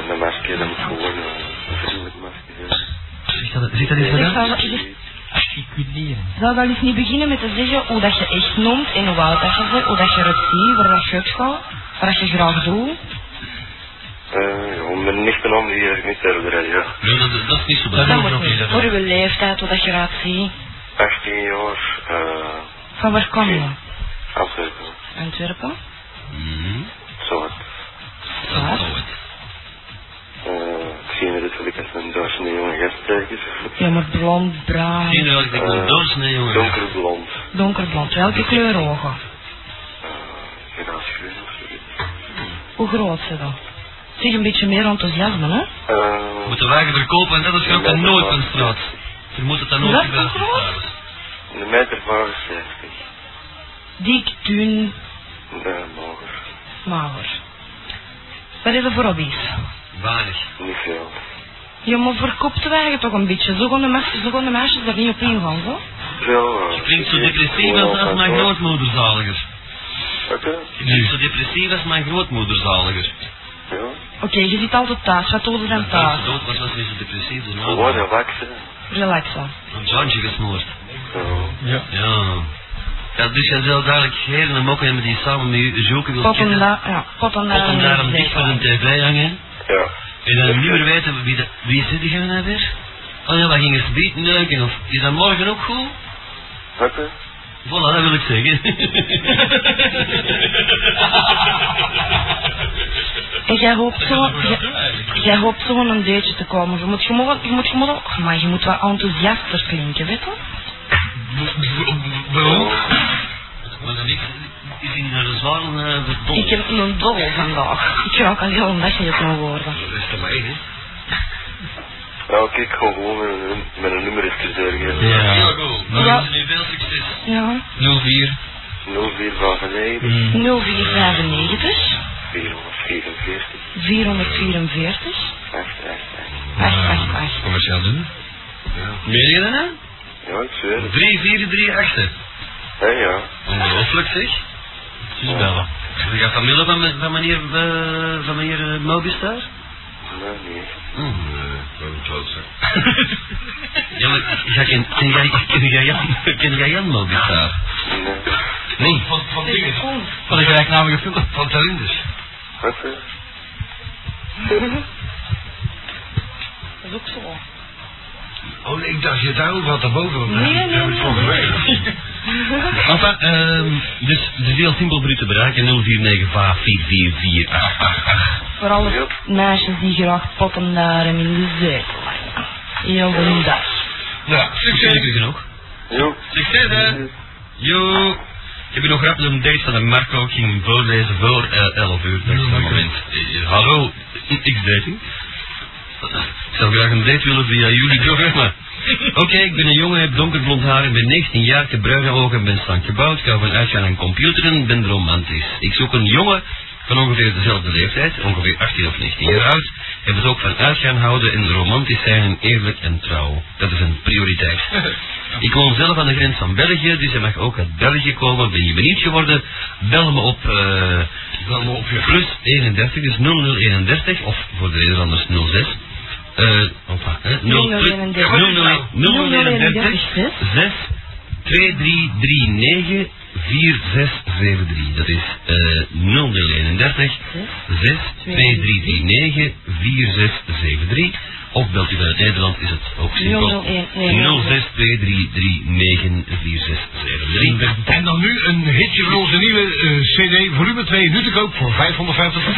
en dat masker, dat moet gewoon eh, een vriendelijk masker. Zeg dat, zeg dat eens Zeg, gedaan? zou, zeg- Articuleren. zou wel eens niet beginnen met te zeggen hoe dat je echt noemt en hoe oud dat je bent, hoe dat je het ziet, waar dat je uit gaat, wat dat je graag doet. Eh, ja, om mijn echte naam die ik niet verder radio. Nee, dat, dat is niet zo Dat belangrijk. moet niet. Voor uw leeftijd, hoe dat je eruit ziet. 18 jaar. eh, Van waar Ah, kom je? Antwerpen. Antwerpen? Mhm. Zo wat. Dat is nooit. Eh, ik zie inderdaad wel ik als een duizend jonge gast kijken. Ja, maar blond, bruin. Zie je wel, ik ben een Eh, doorsnee, jongen. Donkerblond. Donkerblond, welke kleur ogen? Eh, Geraansgroen of zoiets. Hoe groot ze dan? Zeg een beetje meer enthousiasme, hè? We Eh, moeten wagen verkopen en dat is ook een nooit een straat. Je moet het dan ook Wat niet buiten voor staan. een meter van 50. Dik, dun, Nee, mager. mager. Wat is er voor hobby's? Weinig. Niet veel. Je moet verkoopt te wagen toch een beetje. Zo gaan de, meisjes, zo gaan de meisjes er niet op ingaan, zo. Zo. eh, Je klinkt zo depressief als, als mijn grootmoeder zaliger. Oké. Je klinkt zo depressief als mijn grootmoeder zaliger. Ja. Oké, je zit altijd thuis. Wat doden Als zijn ze thuis? dood was, was ze niet zo depressief. Dus nou, Gewoon een waksen. Relax dan. een bandje gesmoord. Zo. Ja. Ja, dus jij zou dadelijk heren en mokken hebben die samen met je zoeken wil Pot en kennen. daar, ja, pot en Pot daar. en daarom dicht voor een tv hangen. Ja. En dan niet meer weten wie, dat, wie zit die nou weer? Oh ja, wat gingen ze bieten neuken? Of is dat morgen ook goed? Oké. Voilà, dat wil ik zeggen. En jij hoopt zo, jij, jij hoopt zo aan een deetje te komen. Je moet gewoon, je moet gewoon, oh, maar je moet wel enthousiaster klinken, weet je? Waarom? Maar dat is is in de zwaar eh, verbonden. Ik heb een dobbel vandaag. Ik raak al heel een dag niet op mijn woorden. Dat is te weinig, hè? Nou, kijk, gewoon met een, met een nummer even doorgeven. Ja. Heel goed. Dan wensen u veel succes. Ja. Mm. 04. 0459 0495 444 444 888. 888. Commercieel doen. Meer je dat nou? Ja, ik zweer het. 3, 4, 3, 8. Hé, ja. Ongelooflijk zeg. Dus bellen. Heb je familie van, me- van meneer, eh, van meneer eh, Mobistar? Nee, nee. Hmm, eh, Wat een klootzak. Ja, maar ja, ken, ken, jij, ken, jij Jan, ken jij Jan Mobistar? Nee. Nee. Van, van dingen. Wat een gelijknamige film. Van talinders. Oké. Dat is ook zo. Oh, nee, ik dacht je daar ook wat erboven. want Nee, dat- nee, dat heb ik nee. van gewerkt. Enfin, ehm, dus het is heel simpel voor u te bereiken. 0495 Vooral de meisjes die graag potten daar en in de zetel leggen. Heel goed dat. Nou, succes. genoeg. Jo. Succes hè. Jo. Ik heb nog rap een date van de Marco ging voorlezen voor eh, 11 uur. Dat is het moment. Eh, Hallo, X-dating. Ik zou graag een date willen via jullie programma. Oké, ik ben een jongen, heb donkerblond haar, ik ben 19 jaar, ik heb bruine ogen, ben slank gebouwd, ik hou van uitgaan aan computeren, ben romantisch. Ik zoek een jongen van ongeveer dezelfde leeftijd, ongeveer 18 of 19 jaar oud, en het ook van uitgaan houden en romantisch zijn en eerlijk en trouw. Dat is een prioriteit. Ik woon zelf aan de grens van België, dus hij mag ook uit België komen. Ben je benieuwd geworden? Bel me op, eh Bel me op plus 31, dus 0031, of voor de Nederlanders 06. Eh, opa, hè, 0031. 0031 6 2339 4673. Dat is eh 0031 6 2339 4673. Of belt u vanuit Nederland, is het ook simpel. 0623394673. En dan nu een hitje van onze nieuwe eh, CD, volume 2, nu te koop voor 550 Rosa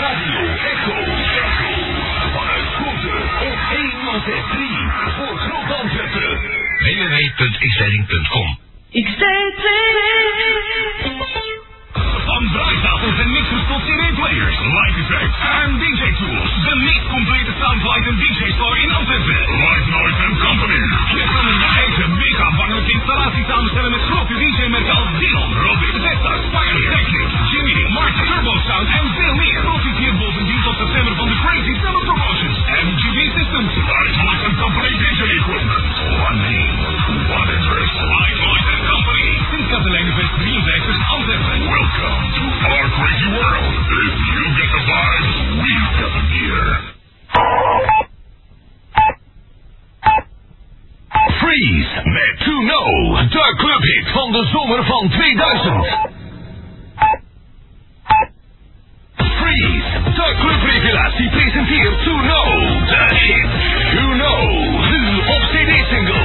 Radio Echo. Echo. Vanuit Grote op 1063 voor Groot-Amsterdam. www.xleiding.com Ik zei Aan draaitafels en mixers tot CD-players, live effects en DJ-tools. De meest complete soundflight en DJ-store in Antwerpen. Live Noise and Company. Je kan een eigen mega vangelijke installatie samenstellen met grote DJ-metaal, Dylan, Robin, Vesta, Spirey, Technic, Jimmy, Martin, Turbo Sound en veel meer. Profiteer bovendien tot september van de Crazy Summer Promotions en GB Systems. Live Noise and Company DJ Equipment. One name, one address. Live Noise and Company. Sint Katelijnenvest 53 Antwerpen. Welcome to our crazy world. If you get the vibes, we've got the gear. Freeze met To Know, de clubhit van de zomer van 2000. Freeze, de clubrevelatie presenteert To Know, de hit To Know, nu op CD-single.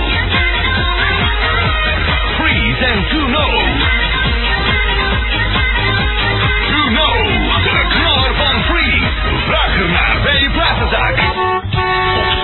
Freeze en To Know. To Know, de knaller van Freeze. Vraag ernaar bij je platenzaak. Op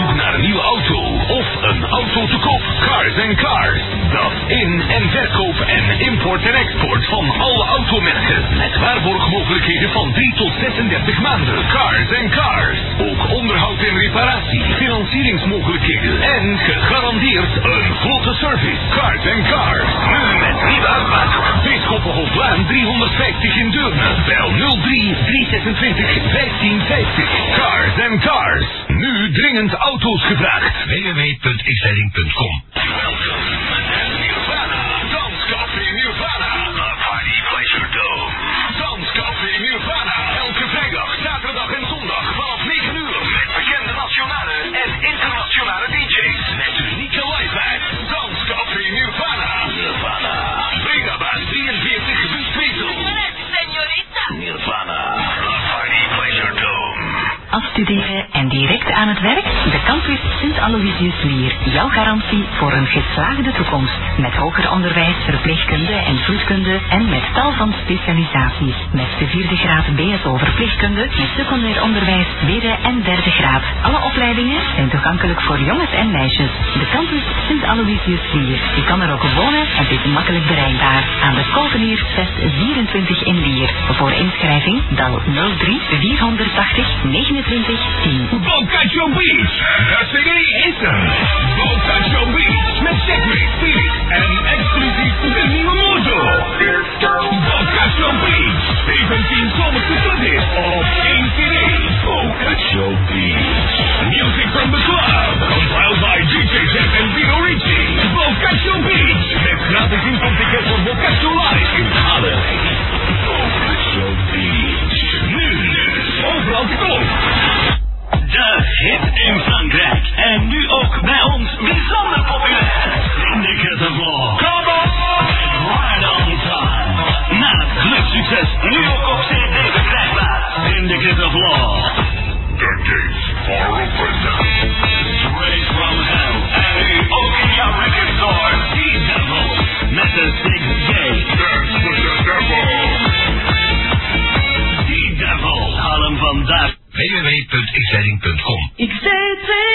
zoek naar een nieuwe auto of een auto te koop. Cars and Cars. Dat in- en verkoop en import en export van alle automerken. Met waarborgmogelijkheden van 3 tot 36 maanden. Cars and Cars. Ook onderhoud en reparatie, financieringsmogelijkheden en gegarandeerd een vlotte service. Cars and Cars. Nu met nieuwe uitmaak. Bischoppenhoflaan 350 in Deurne. Bel 03 326 1550. Cars and Cars. Nu dringend auto's gevraagd. www.xleiding.com Elke vrijdag, zaterdag en zondag vanaf 9 uur. Met bekende nationale en internationale DJ's. Met unieke live-acts. Danscafé Nirvana. Nirvana. Brigabaan 43 Westfriesel. Nirvana. The Party Pleasure Dome. Afstuderen en direct aan het werk? De campus Sint Aloysius Lier. Jouw garantie voor een geslaagde toekomst. Met hoger onderwijs, verpleegkunde en vroedkunde en met tal van specialisaties. Met de vierde graad BSO verpleegkunde, met secundair onderwijs tweede en derde graad. Alle opleidingen zijn toegankelijk voor jongens en meisjes. De campus Sint Aloysius Lier. Je kan er ook wonen en is makkelijk bereikbaar. Aan de Kolvenier 24 in Lier. Voor inschrijving bel 03 480 29 10. Bocacho Beach. De CD is er. Bocacho Beach. Met Checkmate, Felix en exclusief de nieuwe mojo. Bocacho Beach. 17 zomerse studies op één CD. Bocacho Beach. Music from the club. Compiled by DJ Jeff en Vino Ricci. Bocacho Beach. Met gratis infoticket voor Bocacho Live in Halle. Bocacho Beach. Nu. Overal te koop. De hit in Frankrijk. En nu ook bij ons bijzonder populair. Indica de Vlog. Come on! Right on time. Na het clubsucces nu ook op CD verkrijgbaar. Indica de Vlog. The gates are open. Straight from hell. En nu ook in jouw recordstore. The Devil. Met de Six J. Dance with the Devil. The Devil. Halen vandaag. www.xleiding.com Ik zei twee